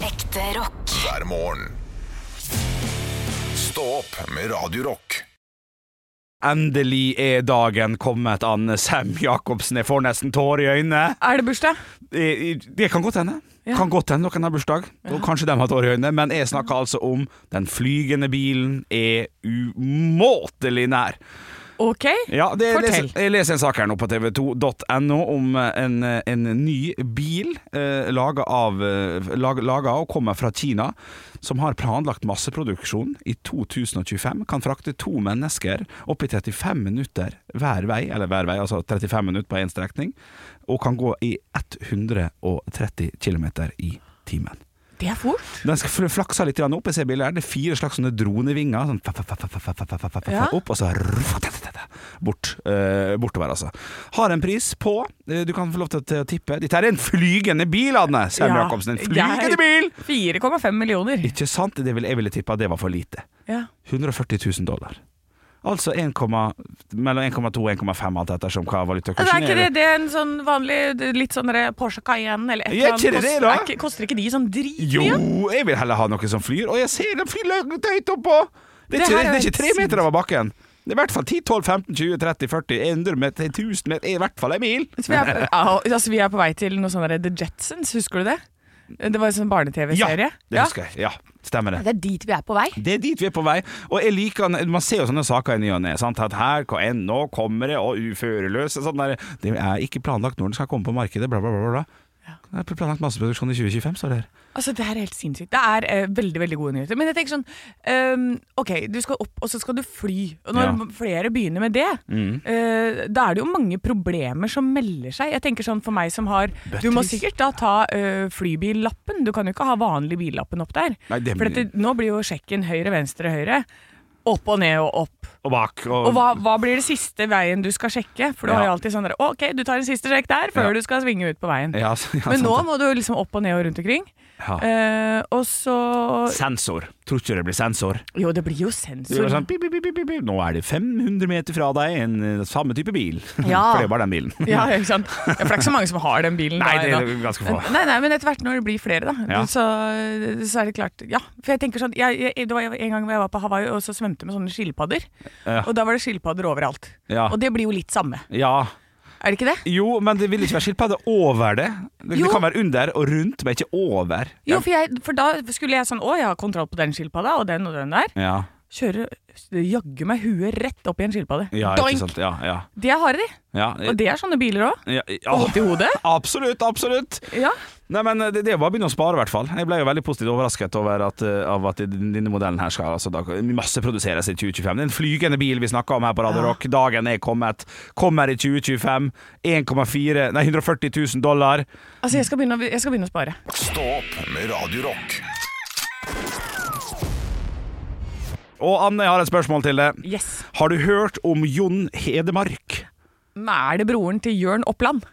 Speaker 4: Ekte rock.
Speaker 1: hver morgen. Stå opp med Radio Rock.
Speaker 2: Endelig er dagen kommet, Anne Sem Jacobsen. Jeg får nesten tårer i øynene.
Speaker 3: Er det bursdag?
Speaker 2: I- i- Det kan godt hende.
Speaker 3: Ja.
Speaker 2: Kan godt hende noen har bursdag, og kanskje de har tårer i øynene, men jeg snakker altså om den flygende bilen er umåtelig nær.
Speaker 3: OK.
Speaker 2: Ja, det, jeg
Speaker 3: Fortell.
Speaker 2: leser, jeg leser en sak her nå på tv2.no om en, en ny bil eh, laga, av, eh, lag, laga og kommer fra Kina, som har planlagt masseproduksjon i 2025. Kan frakte to mennesker opp i 35 minutter hver vei, eller hver vei, altså 35 minutter på én strekning, og kan gå i 130 km i timen.
Speaker 3: Det er fort.
Speaker 2: Den skal fl- flaksa litt grann opp. Jeg ser bildet her. Det er fire slags sånne dronevinger. Sånn fa- fa- fa- fa- fa- fa- fa- fa- fa- fa-
Speaker 3: Ja.
Speaker 2: Opp, og så ruff, ta- ta- ta- ta. bort, eh, bortover, altså. Har en pris på eh, Du kan få lov til å- til å tippe. Dette er en flygende bil, Anne Sem
Speaker 3: Ja.
Speaker 2: Jacobsen. En
Speaker 3: Det er-
Speaker 2: flygende bil!
Speaker 3: 4,5 millioner.
Speaker 2: Ikke sant? Det vil, jeg ville tippa det var for lite.
Speaker 3: Ja.
Speaker 2: 140 000 dollar. Altså 1, mellom 1,2 og 1,5 alt ettersom hva
Speaker 3: Det
Speaker 2: valutakursen
Speaker 3: Altså, er ikke det, det er en sånn vanlig det er litt sånn der Porsche Cayenne eller et
Speaker 2: Ja,
Speaker 3: eller
Speaker 2: ikke det det,
Speaker 3: annet. Kost-
Speaker 2: da?
Speaker 3: er ikke- Koster ikke de sånn
Speaker 2: Jo,
Speaker 3: dritmye?
Speaker 2: jeg vil heller ha noe som flyr, og jeg ser den flyr langt høyt oppå! Det er,
Speaker 3: Det
Speaker 2: ikke,
Speaker 3: her
Speaker 2: det
Speaker 3: er
Speaker 2: er
Speaker 3: jo
Speaker 2: ikke tre
Speaker 3: helt
Speaker 2: meter over bakken. Det er i hvert fall 10, 12, 15, 20, 30, 40, 100 meter, 1000 meter, i hvert fall en mil.
Speaker 3: Så
Speaker 2: [laughs]
Speaker 3: vi, er, au, altså, vi er på vei til noe sånn der The Jetsons, husker du det? Det var en sånn
Speaker 2: Ja,
Speaker 3: barne-TV-serie.
Speaker 2: det husker jeg. Ja, stemmer det.
Speaker 3: er dit vi er på vei.
Speaker 2: Det er dit vi er på vei, og jeg liker den- Man ser jo sånne saker i ny og ne. sant? At her hva enn, nå kommer det, og uføreløse sånn der. Det er ikke planlagt når den skal komme på markedet, bla, bla, bla. bla. Det er planlagt masseproduksjon i 2025, står det her.
Speaker 3: Altså, Det her er helt sinnssykt. Det er eh, veldig veldig gode nyheter. Men jeg tenker sånn ehm, OK, du skal opp, og så skal du fly. Og når
Speaker 2: Ja. Mm.
Speaker 3: flere begynner med det, eh, da er det jo mange problemer som melder seg. Jeg tenker sånn for meg som har Du må
Speaker 2: Bøttevis.
Speaker 3: sikkert da ta eh, flybillappen. Du kan jo ikke ha vanlig billappen opp der.
Speaker 2: Nei, det
Speaker 3: for
Speaker 2: blir-
Speaker 3: dette, nå blir jo sjekken høyre, venstre, høyre. Opp og ned og opp.
Speaker 2: Og bak. Og,
Speaker 3: Og hva, hva blir det siste veien du skal sjekke? For du har
Speaker 2: Ja.
Speaker 3: jo alltid sånn der, OK, du tar en siste sjekk der før
Speaker 2: Ja.
Speaker 3: du skal svinge ut på veien.
Speaker 2: Ja, så- [laughs] ja,
Speaker 3: Men
Speaker 2: sant
Speaker 3: nå
Speaker 2: det.
Speaker 3: må du jo liksom opp og ned og rundt omkring.
Speaker 2: ja.
Speaker 3: Eh, og så
Speaker 2: Sensor. Tror ikke det blir sensor.
Speaker 3: Jo, det blir jo
Speaker 2: Så det
Speaker 3: sensor.
Speaker 2: var sånn, pip, pip, pip, pip, pip. Nå er det 500 meter fra deg en eh, samme type bil. [laughs]
Speaker 3: Ja.
Speaker 2: For det var den
Speaker 3: [laughs]
Speaker 2: bilen.
Speaker 3: [laughs] Ja, ikke sant? Ja, for det er ikke så mange som har den bilen.
Speaker 2: Nei,
Speaker 3: da,
Speaker 2: det
Speaker 3: ennå.
Speaker 2: er ganske få.
Speaker 3: Nei, nei, men etter hvert når det blir flere, da,
Speaker 2: Ja.
Speaker 3: så, så er det klart Ja. For jeg tenker sånn jeg, jeg, Det var en gang jeg var på Hawaii og så svømte med sånne skilpadder.
Speaker 2: Ja.
Speaker 3: Og da var det skilpadder overalt.
Speaker 2: Ja.
Speaker 3: Og det blir jo litt samme.
Speaker 2: Ja.
Speaker 3: Er det ikke det?
Speaker 2: Jo, men det vil ikke være skilpadde over det. Det,
Speaker 3: Jo.
Speaker 2: det kan være under og rundt, men ikke over.
Speaker 3: Jo, for, jeg, for da skulle jeg sånn Å, jeg har kontroll på den skilpadda og den og den der.
Speaker 2: Ja,
Speaker 3: Kjører jaggu meg huet rett opp i en skilpadde.
Speaker 2: ja
Speaker 3: Doink!
Speaker 2: ikke sant. Ja, ja.
Speaker 3: De er harde, de.
Speaker 2: ja.
Speaker 3: Og det er sånne biler òg.
Speaker 2: ja, ja.
Speaker 3: Og hodt i hodet.
Speaker 2: Absolutt, absolutt.
Speaker 3: Ja.
Speaker 2: Nei, men eh, det, det er bare å begynne å spare, i hvert fall. Jeg ble jo veldig positivt overrasket over at, eh, av at denne modellen her skal altså, da, masseproduseres i 2025. Det er en flygende bil vi snakker om her på Radio Rock. Dagen er kommet. Kommer i 2025. 1,4 Nei, 140 000 dollar.
Speaker 3: Altså, jeg skal begynne, å- jeg skal begynne å spare.
Speaker 1: Stå opp med Radio Rock.
Speaker 2: Og Anne, jeg har et spørsmål til deg.
Speaker 3: Yes.
Speaker 2: Har du hørt om Jon Hedemark?
Speaker 3: Men er det broren til Jørn Oppland?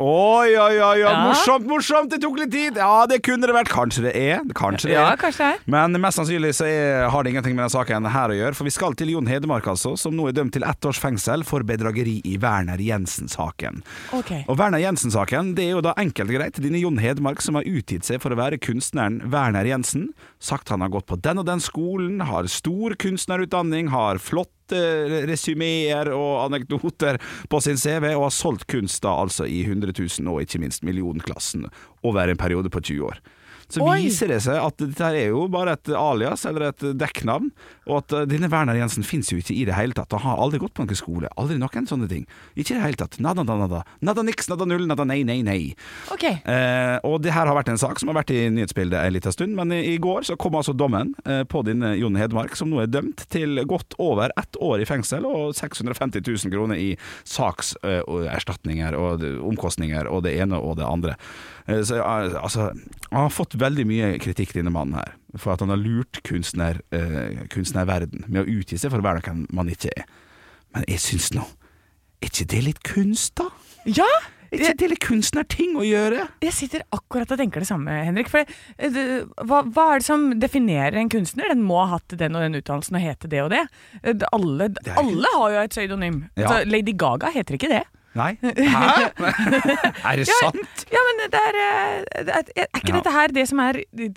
Speaker 2: Oi, oi, oi, oi.
Speaker 3: Ja.
Speaker 2: morsomt, morsomt! Det tok litt tid! Ja, det kunne det vært. Kanskje det er. Kanskje det
Speaker 3: Ja,
Speaker 2: er.
Speaker 3: kanskje det er.
Speaker 2: Men mest sannsynlig så er, har det ingenting med denne saken her å gjøre, for vi skal til Jon Hedemark, altså, som nå er dømt til ett års fengsel for bedrageri i Werner Jensen-saken.
Speaker 3: Ok.
Speaker 2: Og Werner Jensen-saken det er jo da enkelt og greit denne Jon Hedmark som har utgitt seg for å være kunstneren Werner Jensen. Sagt han har gått på den og den skolen, har stor kunstnerutdanning, har flotte resymeer og anekdoter på sin CV, og har solgt kunst da altså i 100 000 og ikke minst millionklassen over en periode på 20 år. Så
Speaker 3: Oi.
Speaker 2: viser det seg at dette her er jo bare et alias eller et dekknavn, og at eh, denne Werner Jensen finnes jo ikke i det hele tatt. Han har aldri gått på noen skole, aldri noen sånne ting. Ikke i det hele tatt. Nada, nada, nada. Nada niks, nada null, nada nei, nei, nei.
Speaker 3: Ok.
Speaker 2: Eh, og det her har vært en sak som har vært i nyhetsbildet en liten stund, men i, i går så kom altså dommen eh, på din eh, Jon Hedmark, som nå er dømt til godt over ett år i fengsel og 650 000 kroner i sakserstatninger og d- omkostninger og det ene og det andre. Eh, så eh, altså, han har fått veldig mye kritikk, denne mannen her, for at han har lurt kunstner, eh, kunstnerverden med å utgi seg for å være noen man ikke er. Men jeg syns nå, er ikke det litt kunst, da?
Speaker 3: Ja!
Speaker 2: Er ikke det litt kunstnerting å gjøre?
Speaker 3: Jeg sitter akkurat og tenker det samme, Henrik. For eh, det, hva, hva er det som definerer en kunstner? Den må ha hatt den og den utdannelsen og hete det og det. Eh, det- Alle,
Speaker 2: er jo-
Speaker 3: alle har jo et pseudonym.
Speaker 2: Ja.
Speaker 3: Altså, Lady Gaga heter ikke det.
Speaker 2: [laughs] Nei? Hæ? er det sant?
Speaker 3: Ja, men det er, eh, det er, er ikke
Speaker 2: Ja.
Speaker 3: dette her det som er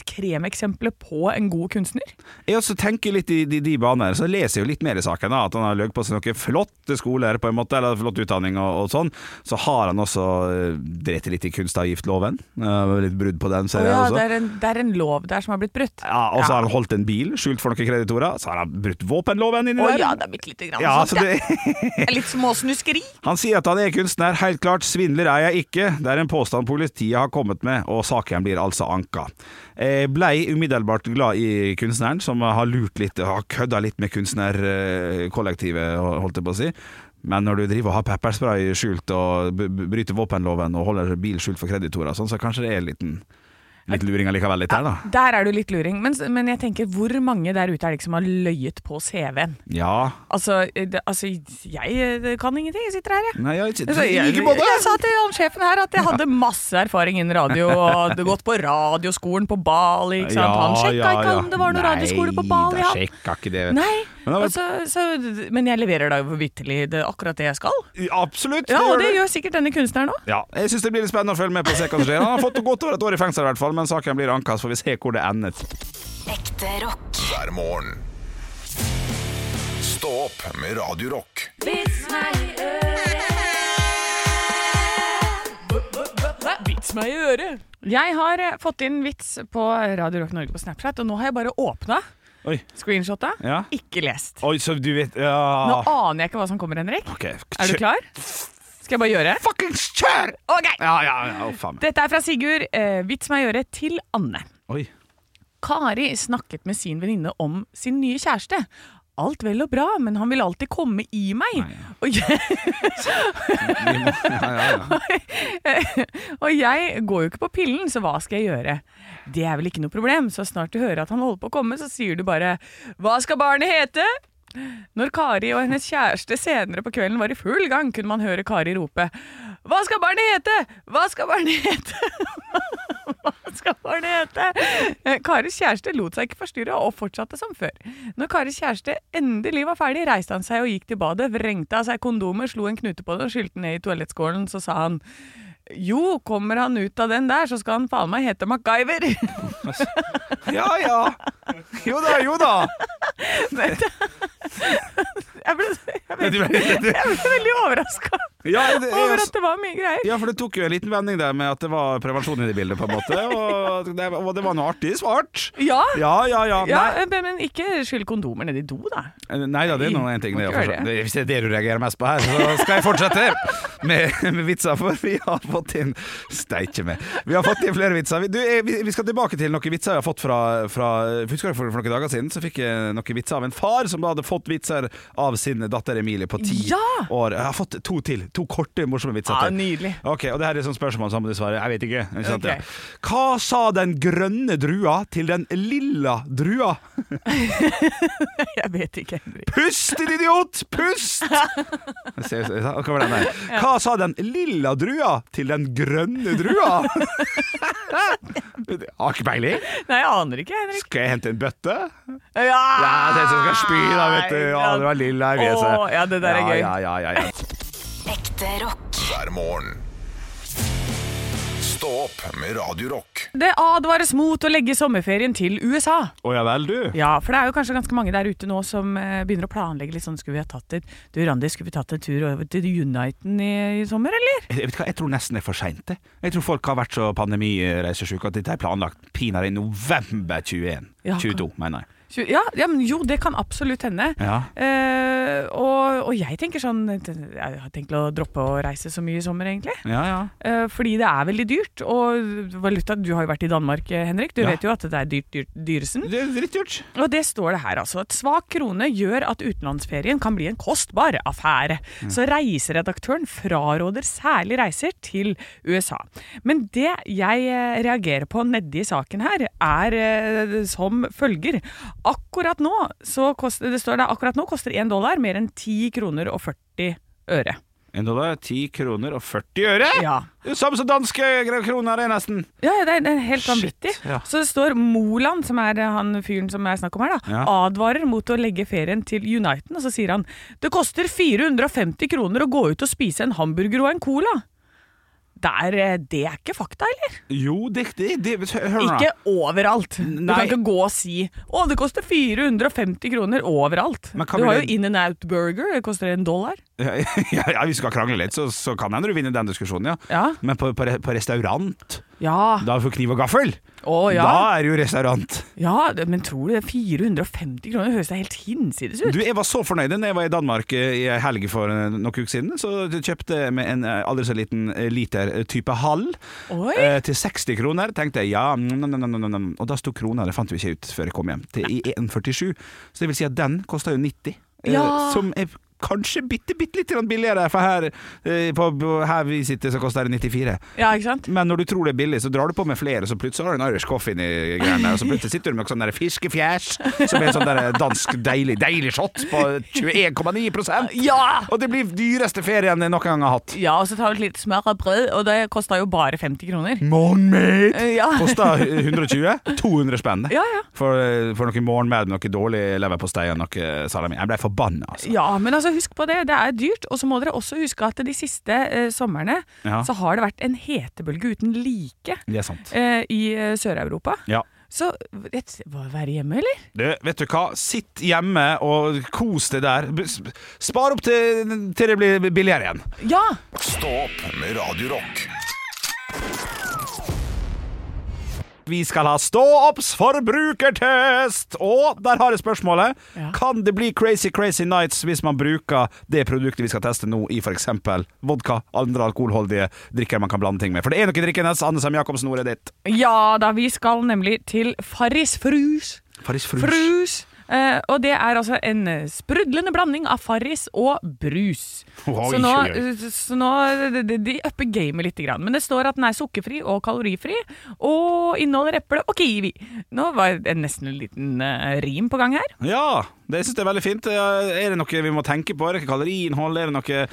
Speaker 3: kremeksempelet på en god kunstner?
Speaker 2: Jeg også tenker litt i de, de baner, så leser jeg jo litt mer i saken. Da, at han har løyet på seg noen flotte skoler, på en måte, eller flott utdanning og, og sånn. Så har han også eh, drept litt i kunstavgiftloven. Eh, litt brudd på den, ser jeg
Speaker 3: ja,
Speaker 2: også.
Speaker 3: det, er en, det er en lov der som har blitt brutt.
Speaker 2: Ja, og så har han holdt en bil skjult for noen kreditorer. Så har han brutt våpenloven inni
Speaker 3: Å
Speaker 2: der.
Speaker 3: ja, det er bitte lite grann.
Speaker 2: Ja,
Speaker 3: sånt,
Speaker 2: så det,
Speaker 3: ja. Litt småsnuskeri.
Speaker 2: han sier at han er kunstner. Helt klart, svindler er jeg ikke. Det er en påstand politiet har kommet med, og saken blir altså anka. Jeg blei umiddelbart glad i kunstneren, som har lurt litt, har kødda litt med kunstnerkollektivet, holdt jeg på å si. Men når du driver og har pepperspray skjult og b- b- bryter våpenloven og holder bil skjult for kreditorer, og sånn, så kanskje det er en liten, litt luring allikevel litt her, da.
Speaker 3: Der er du litt luring. Men, s- men jeg tenker, hvor mange der ute er det ikke som har løyet på CV-en?
Speaker 2: Ja.
Speaker 3: Altså, eh, det, altså jeg eh, kan ingenting. Jeg sitter her, jeg.
Speaker 2: Nei, jeg,
Speaker 3: Altså, jeg, jeg, sa til han sjefen her at jeg hadde masse erfaring innen radio. Og
Speaker 2: [laughs]
Speaker 3: hadde gått på radioskolen på Bali. Ikke sant? Han sjekka ikke om det var noen radioskole på Bali.
Speaker 2: Nei,
Speaker 3: han.
Speaker 2: da sjekka ikke det.
Speaker 3: Nei,
Speaker 2: Men da var-
Speaker 3: altså, så, men jeg leverer da jo vitterlig det, akkurat det jeg skal.
Speaker 2: Absolutt.
Speaker 3: Ja, Og
Speaker 2: du.
Speaker 3: det gjør sikkert denne kunstneren òg.
Speaker 2: Ja, jeg synes det blir litt spennende å følge med på og se hva som skjer. Han har fått godt over et år i fengsel i hvert fall, men saken blir anket, så får vi se hvor det ender.
Speaker 4: Ekte rock.
Speaker 1: hver morgen. Stå opp med Radio Rock.
Speaker 3: Vits meg i øret. Jeg har eh, fått inn vits på Radio Rock Norge på Snapchat, og nå har jeg bare åpna
Speaker 2: Oi.
Speaker 3: screenshotta.
Speaker 2: Ja.
Speaker 3: Ikke lest.
Speaker 2: Oi, så du vet
Speaker 3: Nå
Speaker 2: ja.
Speaker 3: aner jeg ikke hva som kommer, Henrik.
Speaker 2: Ok,
Speaker 3: Er du
Speaker 2: kjør-
Speaker 3: klar? Skal jeg bare gjøre?
Speaker 2: Fuckings kjør!
Speaker 3: Ok!
Speaker 2: Ja, ja, ja, å, faen meg.
Speaker 3: Dette er fra Sigurd. Eh, vits meg i øret til Anne.
Speaker 2: Oi.
Speaker 3: Kari snakket med sin venninne om sin nye kjæreste. Alt vel og bra, men han vil alltid komme i meg. Og jeg,
Speaker 2: Vi må- Ja, ja, ja.
Speaker 3: [laughs] og jeg går jo ikke på pillen, så hva skal jeg gjøre? Det er vel ikke noe problem, så snart du hører at han holder på å komme, så sier du bare 'Hva skal barnet hete?' Når Kari og hennes kjæreste senere på kvelden var i full gang, kunne man høre Kari rope 'Hva skal barnet hete? Hva skal barnet hete?' [laughs] Hva skal barnet hete? Eh, Karis kjæreste lot seg ikke forstyrre og fortsatte som før. Når Karis kjæreste endelig var ferdig, reiste han seg og gikk til badet, vrengte av seg kondomer, slo en knute på det og skylte ned i toalettskålen. Så sa han jo, kommer han ut av den der, så skal han faen meg hete MacGyver. [laughs]
Speaker 2: ja, ja. Jo da, jo da.
Speaker 3: Jeg ble, jeg ble,
Speaker 2: [laughs] Du vet-
Speaker 3: jeg ble veldig overraska
Speaker 2: Ja, altså- det,
Speaker 3: over
Speaker 2: jeg,
Speaker 3: at det var mye greier.
Speaker 2: ja, for det tok jo en liten vending der med at det var prevensjon i det bildet, på en måte. Og det, og det var noe artig svart.
Speaker 3: Ja,
Speaker 2: Ja, ja, ja.
Speaker 3: ja
Speaker 2: Nei,
Speaker 3: men, men ikke skyll kondomer nedi do, da.
Speaker 2: Eh, Nei da, det er nå en ting.
Speaker 3: Må
Speaker 2: Det,
Speaker 3: ikke
Speaker 2: er å
Speaker 3: gjøre
Speaker 2: forstå. hvis det er det du reagerer mest på her, så skal jeg fortsette. med, med vitser, for vi har fått inn Steike meg. Vi har fått inn flere vitser. Vi, du, eh, vi, vi skal tilbake til noen vitser jeg har fått fra, fra Husker du for, for noen dager siden så fikk jeg noen vitser av en far som hadde fått vitser av sin datter Emilie på ti
Speaker 3: Ja! Ah,
Speaker 2: år. Jeg har fått to til. To korte, morsomme vitser.
Speaker 3: Ja,
Speaker 2: til.
Speaker 3: nydelig.
Speaker 2: Ok, og det her er sånn spørsmål som du svarer. Jeg vet ikke. ikke sant,
Speaker 3: Ok.
Speaker 2: ja. Hva sa den grønne drua til den lilla drua?
Speaker 3: Jeg vet ikke, Henrik.
Speaker 2: Pust, din idiot! Pust! Jeg ser- jeg sa- Hva var den der? Hva sa den lilla drua til den grønne drua? [laughs] Jeg Har ikke peiling.
Speaker 3: Nei, jeg aner ikke, Henrik.
Speaker 2: Skal jeg hente en bøtte?
Speaker 3: Ja,
Speaker 2: Ja, jeg tenkte jeg skal spy, da, vet du. Ja, det var lilla i fjeset.
Speaker 3: Å, ja, det der er
Speaker 2: Ja,
Speaker 3: gøy.
Speaker 2: Ja, ja, ja, ja.
Speaker 4: Ekte rock.
Speaker 1: hver morgen. Stå opp med Radio Rock.
Speaker 3: Det advares mot å legge sommerferien til USA.
Speaker 2: Å ja vel, du.
Speaker 3: Ja, for det er jo kanskje ganske mange der ute nå som eh, begynner å planlegge litt sånn Skulle vi ha tatt et Du, Randi, skulle vi tatt en tur over til Uniten i, i sommer, eller?
Speaker 2: Jeg, vet hva, jeg tror nesten det er for seint. det. Jeg tror folk har vært så pandemireisesjuke at dette er planlagt pinadø i november 21.
Speaker 3: Ja,
Speaker 2: 22, mener jeg.
Speaker 3: Tju- Ja, ja, men jo, det kan absolutt hende.
Speaker 2: Ja.
Speaker 3: Eh, og, og jeg tenker sånn Jeg har tenkt å droppe å reise så mye i sommer, egentlig.
Speaker 2: Ja, ja.
Speaker 3: Eh, fordi det er veldig dyrt. Og valuta Du har jo vært i Danmark, eh, Henrik. Du
Speaker 2: Ja.
Speaker 3: vet jo at det er dyrt, dyrt dyresen.
Speaker 2: Det er drittdyrt.
Speaker 3: Og det står det her, altså. Et svak krone gjør at utenlandsferien kan bli en kostbar affære. Så reiseredaktøren fraråder særlig reiser til USA. Men det jeg eh, reagerer på nedi saken her, er eh, som følger. Akkurat nå, så koster, det står der, akkurat nå koster én dollar mer enn 10 kroner og 40 øre.
Speaker 2: En dollar, 10 kroner og 40 øre?
Speaker 3: Ja.
Speaker 2: Det er jo samme som danske kroner, det, nesten.
Speaker 3: Ja, ja, det er, det er helt vanvittig.
Speaker 2: ja.
Speaker 3: Så det står Moland, som er eh, han fyren som er snakk om her, da,
Speaker 2: Ja.
Speaker 3: advarer mot å legge ferien til Uniten, og så sier han det koster 450 kroner å gå ut og spise en hamburger og en cola. Det er, eh, det er ikke fakta, eller?
Speaker 2: Jo, det, det, det Hør nå.
Speaker 3: Ikke overalt. Du
Speaker 2: Nei.
Speaker 3: kan ikke gå og si å, det koster 450 kroner overalt.
Speaker 2: Men hva
Speaker 3: Du har
Speaker 2: blir
Speaker 3: jo
Speaker 2: det-
Speaker 3: In and Out Burger, det koster en dollar.
Speaker 2: Ja, [laughs] ja, ja, vi skal krangle litt, så, så kan hende du vinner den diskusjonen, ja.
Speaker 3: Ja.
Speaker 2: Men på, på, re- på restaurant,
Speaker 3: Ja.
Speaker 2: da får kniv og gaffel.
Speaker 3: Å ja.
Speaker 2: Da er det jo restaurant.
Speaker 3: ja. det- Men tror du det? 450 kroner høres da helt hinsides ut.
Speaker 2: Du, jeg var så fornøyd da jeg var i Danmark eh, i helge for eh, noen uker siden. Så kjøpte jeg med en eh, aldri så liten eh, liter eh, type halv.
Speaker 3: Oi.
Speaker 2: Eh, til 60 kroner tenkte jeg ja, mm, mm, mm, mm, mm. og da sto krona, det fant vi ikke ut før jeg kom hjem, til i 1,47. Så det vil si at den kosta jo 90, eh,
Speaker 3: Ja.
Speaker 2: som er kanskje bitte, bitte litt grann billigere, for her, eh, på, på, her vi sitter så koster det 94.
Speaker 3: Ja, ikke sant?
Speaker 2: Men når du tror det er billig, så drar du på med flere, så plutselig har du en Irish coffee inni greiene der, og så plutselig sitter du med noe sånn der fiskefjæs, som er en sånn der dansk deilig, deilig shot på 21,9
Speaker 3: Ja!
Speaker 2: Og det blir dyreste ferien jeg noen gang har hatt.
Speaker 3: Ja, og så tar vi litt smør og brød, og det kosta jo bare 50 kroner.
Speaker 2: Morgenmat!
Speaker 3: Eh, ja.
Speaker 2: Kosta 120? 200 spenn. det.
Speaker 3: Ja, ja.
Speaker 2: For, eh, for noe morgenmat med noe dårlig leverpostei og noe eh, salami. Jeg ble forbanna, altså.
Speaker 3: Ja, men altså husk på det, det er dyrt. Og så må dere også huske at de siste eh, somrene
Speaker 2: Ja.
Speaker 3: så har det vært en hetebølge uten like
Speaker 2: Det er sant.
Speaker 3: eh, i eh, Sør-Europa.
Speaker 2: Ja.
Speaker 3: Så rett, hva, være hjemme, eller?
Speaker 2: Du, vet du hva? Sitt hjemme og kos deg der. B- sp- Spar opp til, til det blir billigere igjen.
Speaker 3: Ja!
Speaker 1: Stå opp med Radio Rock
Speaker 2: Vi skal ha stå-opps forbrukertest! Og der har jeg spørsmålet.
Speaker 3: Ja.
Speaker 2: Kan det bli crazy, crazy nights hvis man bruker det produktet vi skal teste nå, i f.eks. vodka, andre alkoholholdige drikker man kan blande ting med? For det er noe drikkende. Anne Sem Jacobsen, ordet er ditt.
Speaker 3: Ja da, vi skal nemlig til Farris Frus.
Speaker 2: Farris
Speaker 3: Frus. Eh, og det er altså en eh, sprudlende blanding av Farris og brus.
Speaker 2: Oi,
Speaker 3: så nå,
Speaker 2: oi, oi.
Speaker 3: så nå eh, de- de, de upper gamet litt. Grann. Men det står at den er sukkerfri og kalorifri, og inneholder eple og kiwi. Nå var det nesten en liten eh, rim på gang her.
Speaker 2: Ja, det syns jeg er veldig fint. Eh, Er det noe vi må tenke på? Er det noe kaloriinnhold? Er det noe eh,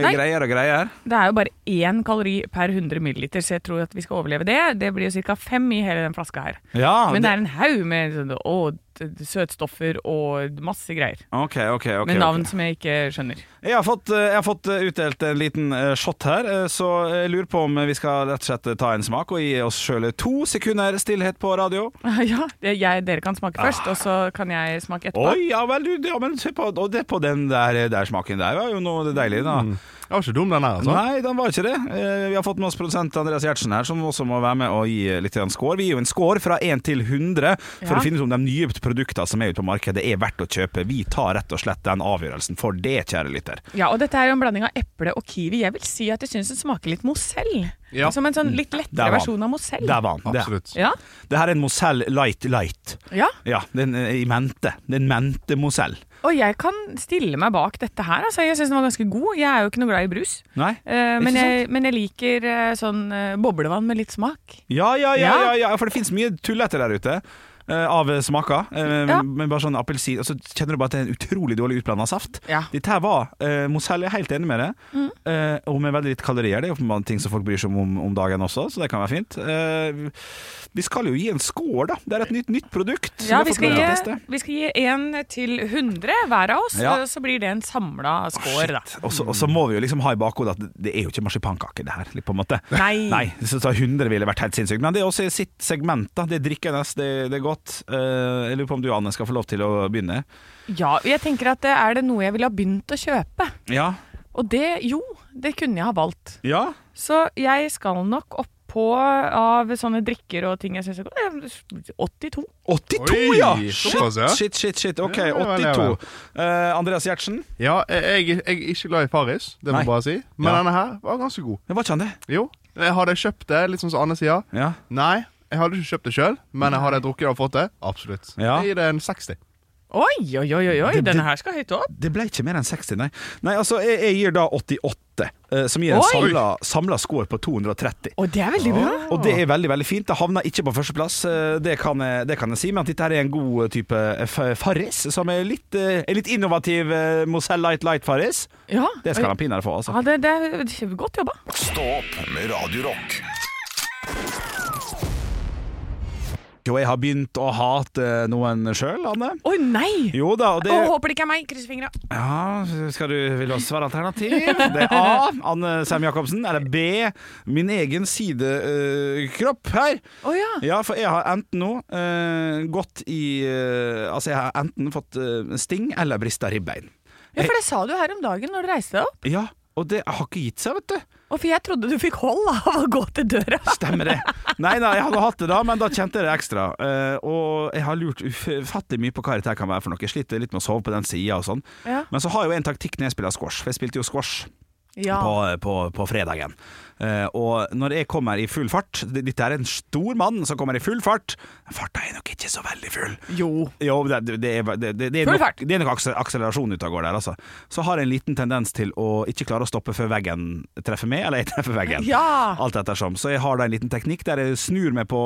Speaker 3: Nei.
Speaker 2: greier og greier?
Speaker 3: Det er jo bare én kalori per 100 milliliter, så jeg tror at vi skal overleve det. Det blir jo ca. fem i hele den flaska her.
Speaker 2: Ja,
Speaker 3: Men det er en haug med sånne, å, d- d- søtstoffer og masse greier.
Speaker 2: OK, OK. ok,
Speaker 3: med navn
Speaker 2: ok.
Speaker 3: som jeg ikke skjønner.
Speaker 2: Jeg, har fått, eh, jeg har fått eh, utdelt en liten eh, shot her, eh, så jeg lurer på om vi skal rett og slett eh, ta en smak og gi oss sjøl to sekunder stillhet på radio.
Speaker 3: [laughs] Ja, det- jeg, dere kan smake først, og så kan jeg smake etterpå.
Speaker 2: Ah. Oi, ja vel, du. Ja, men se på, og det på den der, eh, der smaken der var jo noe deilig, da.
Speaker 7: Den var ikke dum, den her, altså.
Speaker 2: Nei, den var ikke det. Eh, Vi har fått med oss produsent Andreas Gjertsen eh, her, som også må være med og gi litt grann score. Vi gir jo en score fra 1 til 100 for
Speaker 3: Ja.
Speaker 2: å finne ut om de nye produkter som er ute på markedet er verdt å kjøpe. Vi tar rett og slett den avgjørelsen for det, kjære lytter.
Speaker 3: Ja, og dette er jo en blanding av eple og kiwi. Jeg vil si at jeg syns den smaker litt Mozell.
Speaker 7: Ja.
Speaker 3: Som en sånn litt
Speaker 2: Der
Speaker 3: lettere
Speaker 2: var
Speaker 3: versjon av Mozell.
Speaker 2: Der var den. Det,
Speaker 7: Absolutt.
Speaker 3: Ja.
Speaker 2: det her er en Mozell Light Light.
Speaker 3: ja.
Speaker 2: Ja, den er i mente. Den mente Mozell.
Speaker 3: Og jeg kan stille meg bak dette her. Altså, jeg syns den var ganske god. Jeg er jo ikke noe glad i brus.
Speaker 2: Nei?
Speaker 3: Eh,
Speaker 2: Ikke
Speaker 3: men,
Speaker 2: sant?
Speaker 3: jeg, men jeg liker eh, sånn eh, boblevann med litt smak.
Speaker 2: Ja, ja, ja, ja,
Speaker 3: Ja.
Speaker 2: ja for det finnes mye tullete der ute. eh, Av smaker. eh,
Speaker 3: Ja.
Speaker 2: Men bare sånn appelsin Og så kjenner du bare at det er en utrolig dårlig utblanda saft.
Speaker 3: Ja. Mm.
Speaker 2: Dette her var uh, Mozell, jeg er helt enig med deg. eh, og med veldig litt kalorier. Det er jo på en måte ting som folk bryr seg om om om dagen også, så det kan være fint. Eh, vi skal jo gi en score, da. Det er et nytt, nytt produkt. så
Speaker 3: Ja,
Speaker 2: det
Speaker 3: vi
Speaker 2: får
Speaker 3: skal,
Speaker 2: dere
Speaker 3: gi,
Speaker 2: teste.
Speaker 3: vi skal gi én til 100 hver av oss,
Speaker 2: Ja.
Speaker 3: og så blir det en samla score. da.
Speaker 2: Og så- og så må vi jo liksom ha i bakhodet at det er jo ikke marsipankake, det her. litt på en måte
Speaker 3: Nei.
Speaker 2: så ta 100 ville vært helt sinnssykt. Men det er også i sitt segment. da Det er drikkende, det, det er godt. Eh, jeg lurer på om du, Anne, skal få lov til å begynne.
Speaker 3: Ja, jeg tenker at eh, er det noe jeg ville ha begynt å kjøpe?
Speaker 2: Ja.
Speaker 3: Og det, jo, det kunne jeg ha valgt.
Speaker 2: ja.
Speaker 3: Så jeg skal nok opp på av sånne drikker og ting jeg syns er godt. Eh, 82.
Speaker 2: 82,
Speaker 7: Oi,
Speaker 2: ja!
Speaker 7: såpass, ja.
Speaker 2: Shit, shit, shit. shit. Ok,
Speaker 7: Ja, vel, ja,
Speaker 2: 82. Eh, Andreas Gjertsen.
Speaker 7: Ja, jeg, jeg er ikke glad i Farris, det må
Speaker 2: Nei.
Speaker 7: jeg bare si. Men
Speaker 2: Ja.
Speaker 7: denne her var ganske god.
Speaker 2: Det var ikke han, det?
Speaker 7: Jo. Jeg hadde jeg kjøpt det, litt sånn som Anne sier.
Speaker 2: Ja.
Speaker 7: Nei, jeg hadde ikke kjøpt det sjøl, men jeg hadde jeg drukket det og fått det. Absolutt.
Speaker 2: Ja.
Speaker 7: Jeg gir det en 60.
Speaker 3: Oi, oi, oi, oi, oi.
Speaker 2: Det- det-
Speaker 3: denne her skal høyt opp.
Speaker 2: Det ble ikke mer enn 60, nei. Nei, altså, jeg, jeg gir da 88, eh, som gir en
Speaker 3: Oi!
Speaker 2: samla, samla score på 230.
Speaker 3: Og det er veldig bra.
Speaker 2: Og det er veldig veldig fint. Det havner ikke på førsteplass, eh, det, kan jeg- det kan jeg si. Men at dette her er en god type eh, f- farris, som er litt, eh, en litt innovativ eh, Mozell Light Light-farris.
Speaker 3: Ja,
Speaker 2: Det skal han pinadø få, altså.
Speaker 3: ja det, det er godt jobba.
Speaker 1: Stå opp med Radio Rock.
Speaker 2: Jo, jeg har begynt å hate eh, noen sjøl, Anne.
Speaker 3: Å nei!
Speaker 2: Jo da, og det
Speaker 3: Å, håper det ikke er meg. Krysser fingra.
Speaker 2: Ja, skal du Vil du også være alternativ? Det er A. Anne Sem Jacobsen. Eller B. Min egen sidekropp her.
Speaker 3: Å ja.
Speaker 2: Ja, for jeg har enten nå eh, gått i eh, Altså, jeg har enten fått eh, sting eller brista ribbein.
Speaker 3: ja, for det sa du her om dagen når du reiste deg opp.
Speaker 2: Ja, og det har ikke gitt seg, vet du.
Speaker 3: Og for jeg trodde du fikk hold av å gå til døra.
Speaker 2: Stemmer det. Nei, nei, jeg hadde hatt det da, men da kjente jeg det ekstra. Eh, og jeg har lurt ufattelig mye på hva dette her kan være for noe. Jeg sliter litt med å sove på den sida og sånn.
Speaker 3: [laughs] Ja.
Speaker 2: Men så har jeg jo en taktikk når jeg spiller squash, for jeg spilte jo squash.
Speaker 3: Ja.
Speaker 2: på, på, på fredagen. Eh, og når jeg kommer i full fart d- Dette er en stor mann som kommer i full fart. Farta er nok ikke så veldig full.
Speaker 3: Jo.
Speaker 2: Jo, det, det, det, er- det, det, det, er
Speaker 3: Full
Speaker 2: nok,
Speaker 3: fart.
Speaker 2: det er nok akse- akselerasjon ute og går der, altså. Så har jeg en liten tendens til å ikke klare å stoppe før veggen treffer meg, eller jeg treffer veggen.
Speaker 3: Ja.
Speaker 2: Alt ettersom. Så jeg har da en liten teknikk der jeg snur meg på,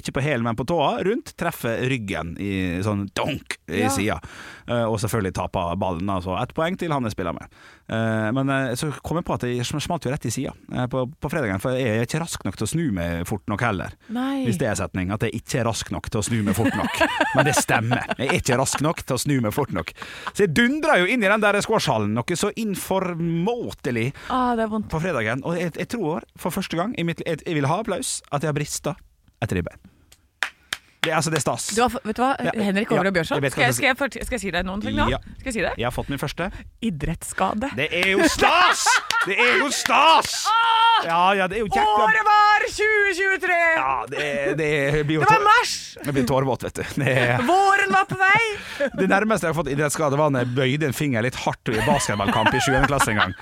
Speaker 2: ikke på hælen, men på tåa rundt, treffer ryggen i sånn donk i
Speaker 3: Ja.
Speaker 2: sida. Eh, og selvfølgelig taper ballen, altså. Ett poeng til han jeg spiller med. Eh, men eh, så kom jeg på at jeg sm- smalt jo rett i sida eh, på, på fredagen, for jeg er ikke rask nok til å snu meg fort nok heller.
Speaker 3: Nei.
Speaker 2: Hvis det er setning, at jeg ikke er rask nok til å snu meg fort nok. Men det stemmer. Jeg er ikke rask nok til å snu meg fort nok. Så jeg dundra jo inn i den der squashhallen noe så informåtelig
Speaker 3: Ah, det er vondt.
Speaker 2: på fredagen. Og jeg, jeg tror for første gang i mitt, jeg, jeg vil ha applaus at jeg har brista et ribbein. Det, er- altså, det er stas.
Speaker 3: Du har, vet du hva,
Speaker 2: Ja,
Speaker 3: Henrik
Speaker 2: ja,
Speaker 3: Over og
Speaker 2: jeg
Speaker 3: Bjørsson,
Speaker 2: vet hva
Speaker 3: skal, jeg-
Speaker 2: du
Speaker 3: skal, jeg fort- skal jeg si deg noen ting nå?
Speaker 2: Ja.
Speaker 3: Skal jeg si det?
Speaker 2: Jeg har fått min første.
Speaker 3: Idrettsskade.
Speaker 2: Det er jo stas! Det er jo stas! Ja, ja, det er jo jækla
Speaker 3: Året var 2023!
Speaker 2: ja, det, det blir jo
Speaker 3: Det var
Speaker 2: tår-
Speaker 3: mars!
Speaker 2: Jeg blir tårevåt, vet du. Det er
Speaker 3: Våren var på vei!
Speaker 2: Det nærmeste jeg har fått idrettsskade, var når jeg bøyde en finger litt hardt i en basketballkamp i 7. klasse en gang.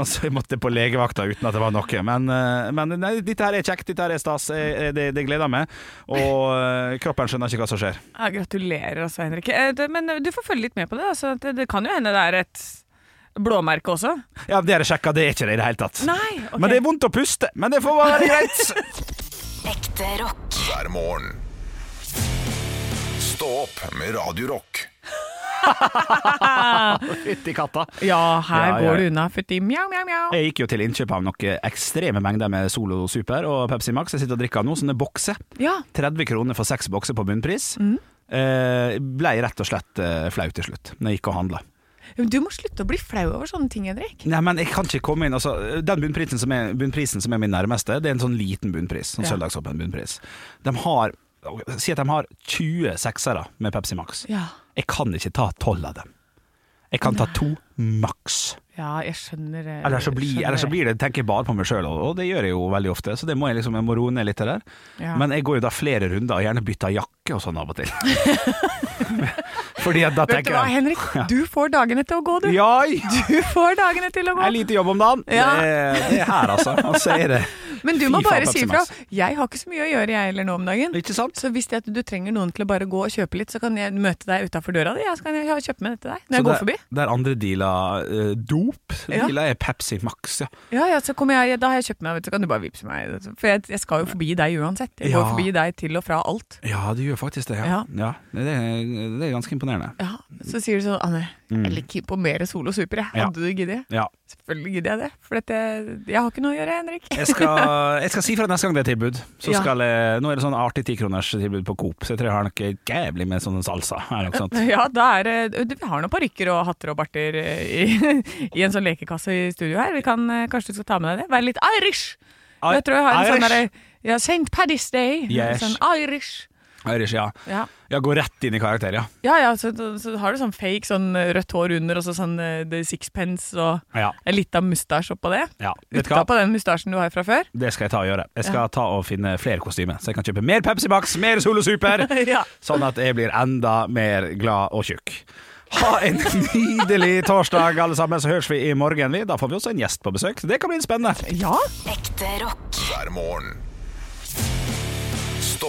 Speaker 2: Og så jeg måtte på legevakta uten at det var noe. Men, eh, men nei, dette her er kjekt, dette her er stas. Eh, Det, det gleder jeg meg. Og eh, kroppen skjønner ikke hva som skjer.
Speaker 3: Ja, gratulerer altså, Henrik. Eh, det- Men du får følge litt med på det. Altså. Det, det kan jo hende det er et blåmerke også.
Speaker 2: Ja, dere sjekka, det er ikke det i det hele tatt.
Speaker 3: Nei, ok.
Speaker 2: Men det er vondt å puste. Men det får være greit.
Speaker 4: Ekte rock.
Speaker 1: hver morgen. Stå opp med Radio Rock.
Speaker 2: Fytti katta.
Speaker 3: Ja, her
Speaker 2: Ja, ja,
Speaker 3: går
Speaker 2: ja.
Speaker 3: det unna. Fytti mjau, mjau, mjau.
Speaker 2: Jeg gikk jo til innkjøp av noen ekstreme mengder med Solo Super og Pepsi Max. Jeg sitter og drikker nå, sånne bokser.
Speaker 3: Ja.
Speaker 2: 30 kroner for seks bokser på bunnpris.
Speaker 3: Mm.
Speaker 2: Eh, Blei rett og slett eh, flau til slutt, når jeg gikk og handla.
Speaker 3: Du må slutte å bli flau over sånne ting, Henrik.
Speaker 2: Nei, men jeg kan ikke komme inn altså, Den bunnprisen som, er, bunnprisen som er min nærmeste Det er en sånn liten bunnpris Sånn
Speaker 3: Ja.
Speaker 2: søndagsåpen bunnpris De har Si at de har 20 seksere med Pepsi Max
Speaker 3: Ja.
Speaker 2: Jeg kan ikke ta 12 av dem Jeg kan ta to maks
Speaker 3: Ja, jeg skjønner eh, det.
Speaker 2: Eller så blir, eller så blir det, tenker jeg bare på meg sjøl, og og det gjør jeg jo veldig ofte. Så det må jeg liksom, jeg må roe ned litt det der.
Speaker 3: Ja.
Speaker 2: Men jeg går jo da flere runder og gjerne bytter jakke og sånn av og
Speaker 3: [laughs]
Speaker 2: til. Fordi at da
Speaker 3: Vet du
Speaker 2: tenker
Speaker 3: hva,
Speaker 2: jeg
Speaker 3: Henrik? Du får dagene til å gå, du.
Speaker 2: Jai!
Speaker 3: Du får dagene til å
Speaker 2: Jeg
Speaker 3: gå.
Speaker 2: er lite jobb om dagen.
Speaker 3: Ja.
Speaker 2: Det, er- det er her, altså. Og så er det
Speaker 3: [laughs] Men du må
Speaker 2: Fy faen,
Speaker 3: bare
Speaker 2: Pepsi
Speaker 3: si ifra.
Speaker 2: Max.
Speaker 3: Jeg har ikke så mye å gjøre, jeg heller, nå om dagen.
Speaker 2: Ikke sant?
Speaker 3: Så hvis det at du trenger noen til å bare gå og kjøpe litt, så kan jeg møte deg utafor døra di. Ja, så kan jeg kjøpe med dette til deg når jeg går
Speaker 2: Så
Speaker 3: forbi.
Speaker 2: der, der andre dealer eh, dop,
Speaker 3: Ja.
Speaker 2: dealer er Pepsi Max, ja.
Speaker 3: Ja, ja, så kommer jeg, da har jeg kjøpt meg, vet du, så kan du bare vippse meg. For jeg, jeg skal jo forbi deg uansett. Jeg går
Speaker 2: Ja.
Speaker 3: forbi deg til og fra alt.
Speaker 2: Ja, det gjør faktisk det. Ja. Ja. det, er, det er ganske imponerende.
Speaker 3: Ja, Så sier du sånn Anne, jeg liker på mer Solo Super. jeg.
Speaker 2: Mm. Ja.
Speaker 3: Hadde du giddet?
Speaker 2: Ja.
Speaker 3: Selvfølgelig gidder jeg det. For dette, jeg har ikke noe å gjøre, Henrik.
Speaker 2: Jeg skal, jeg skal [laughs] si fra neste gang det er tilbud. Så
Speaker 3: Ja.
Speaker 2: skal jeg, nå er det sånn artig tikronerstilbud på Coop, så jeg tror jeg har noe jævlig med sånn salsa. Er det ikke sant?
Speaker 3: Ja, da er det du, Vi har noen parykker og hatter og barter eh, i, [laughs] i en sånn lekekasse i studio her. Vi kan, eh, kanskje du skal ta med deg det? Være litt Irish! [laughs] jeg tror jeg har en sånn
Speaker 2: Irish.
Speaker 3: derre ja, St. Paddy's Day.
Speaker 2: Yes.
Speaker 3: Sånn Irish.
Speaker 2: Irish, ja.
Speaker 3: Ja.
Speaker 2: Ja, gå rett inn i karakter, ja.
Speaker 3: Ja ja, så, så har du sånn fake sånn eh, rødt hår under og så sånn eh, det er sixpence og
Speaker 2: Ja.
Speaker 3: en lita mustasje oppå det.
Speaker 2: ja. Vet du hva?
Speaker 3: Utapå den mustasjen du har fra før.
Speaker 2: Det skal jeg ta og gjøre. Jeg skal ta og finne flere kostymer, så jeg kan kjøpe mer Pepsi Max, mer Solo Super,
Speaker 3: [laughs] Ja.
Speaker 2: sånn at jeg blir enda mer glad og tjukk. Ha en nydelig torsdag, alle sammen, så høres vi i morgen. vi. Da får vi også en gjest på besøk, så det kan bli spennende.
Speaker 3: Ja,
Speaker 4: Ekte rock.
Speaker 1: hver morgen. Stå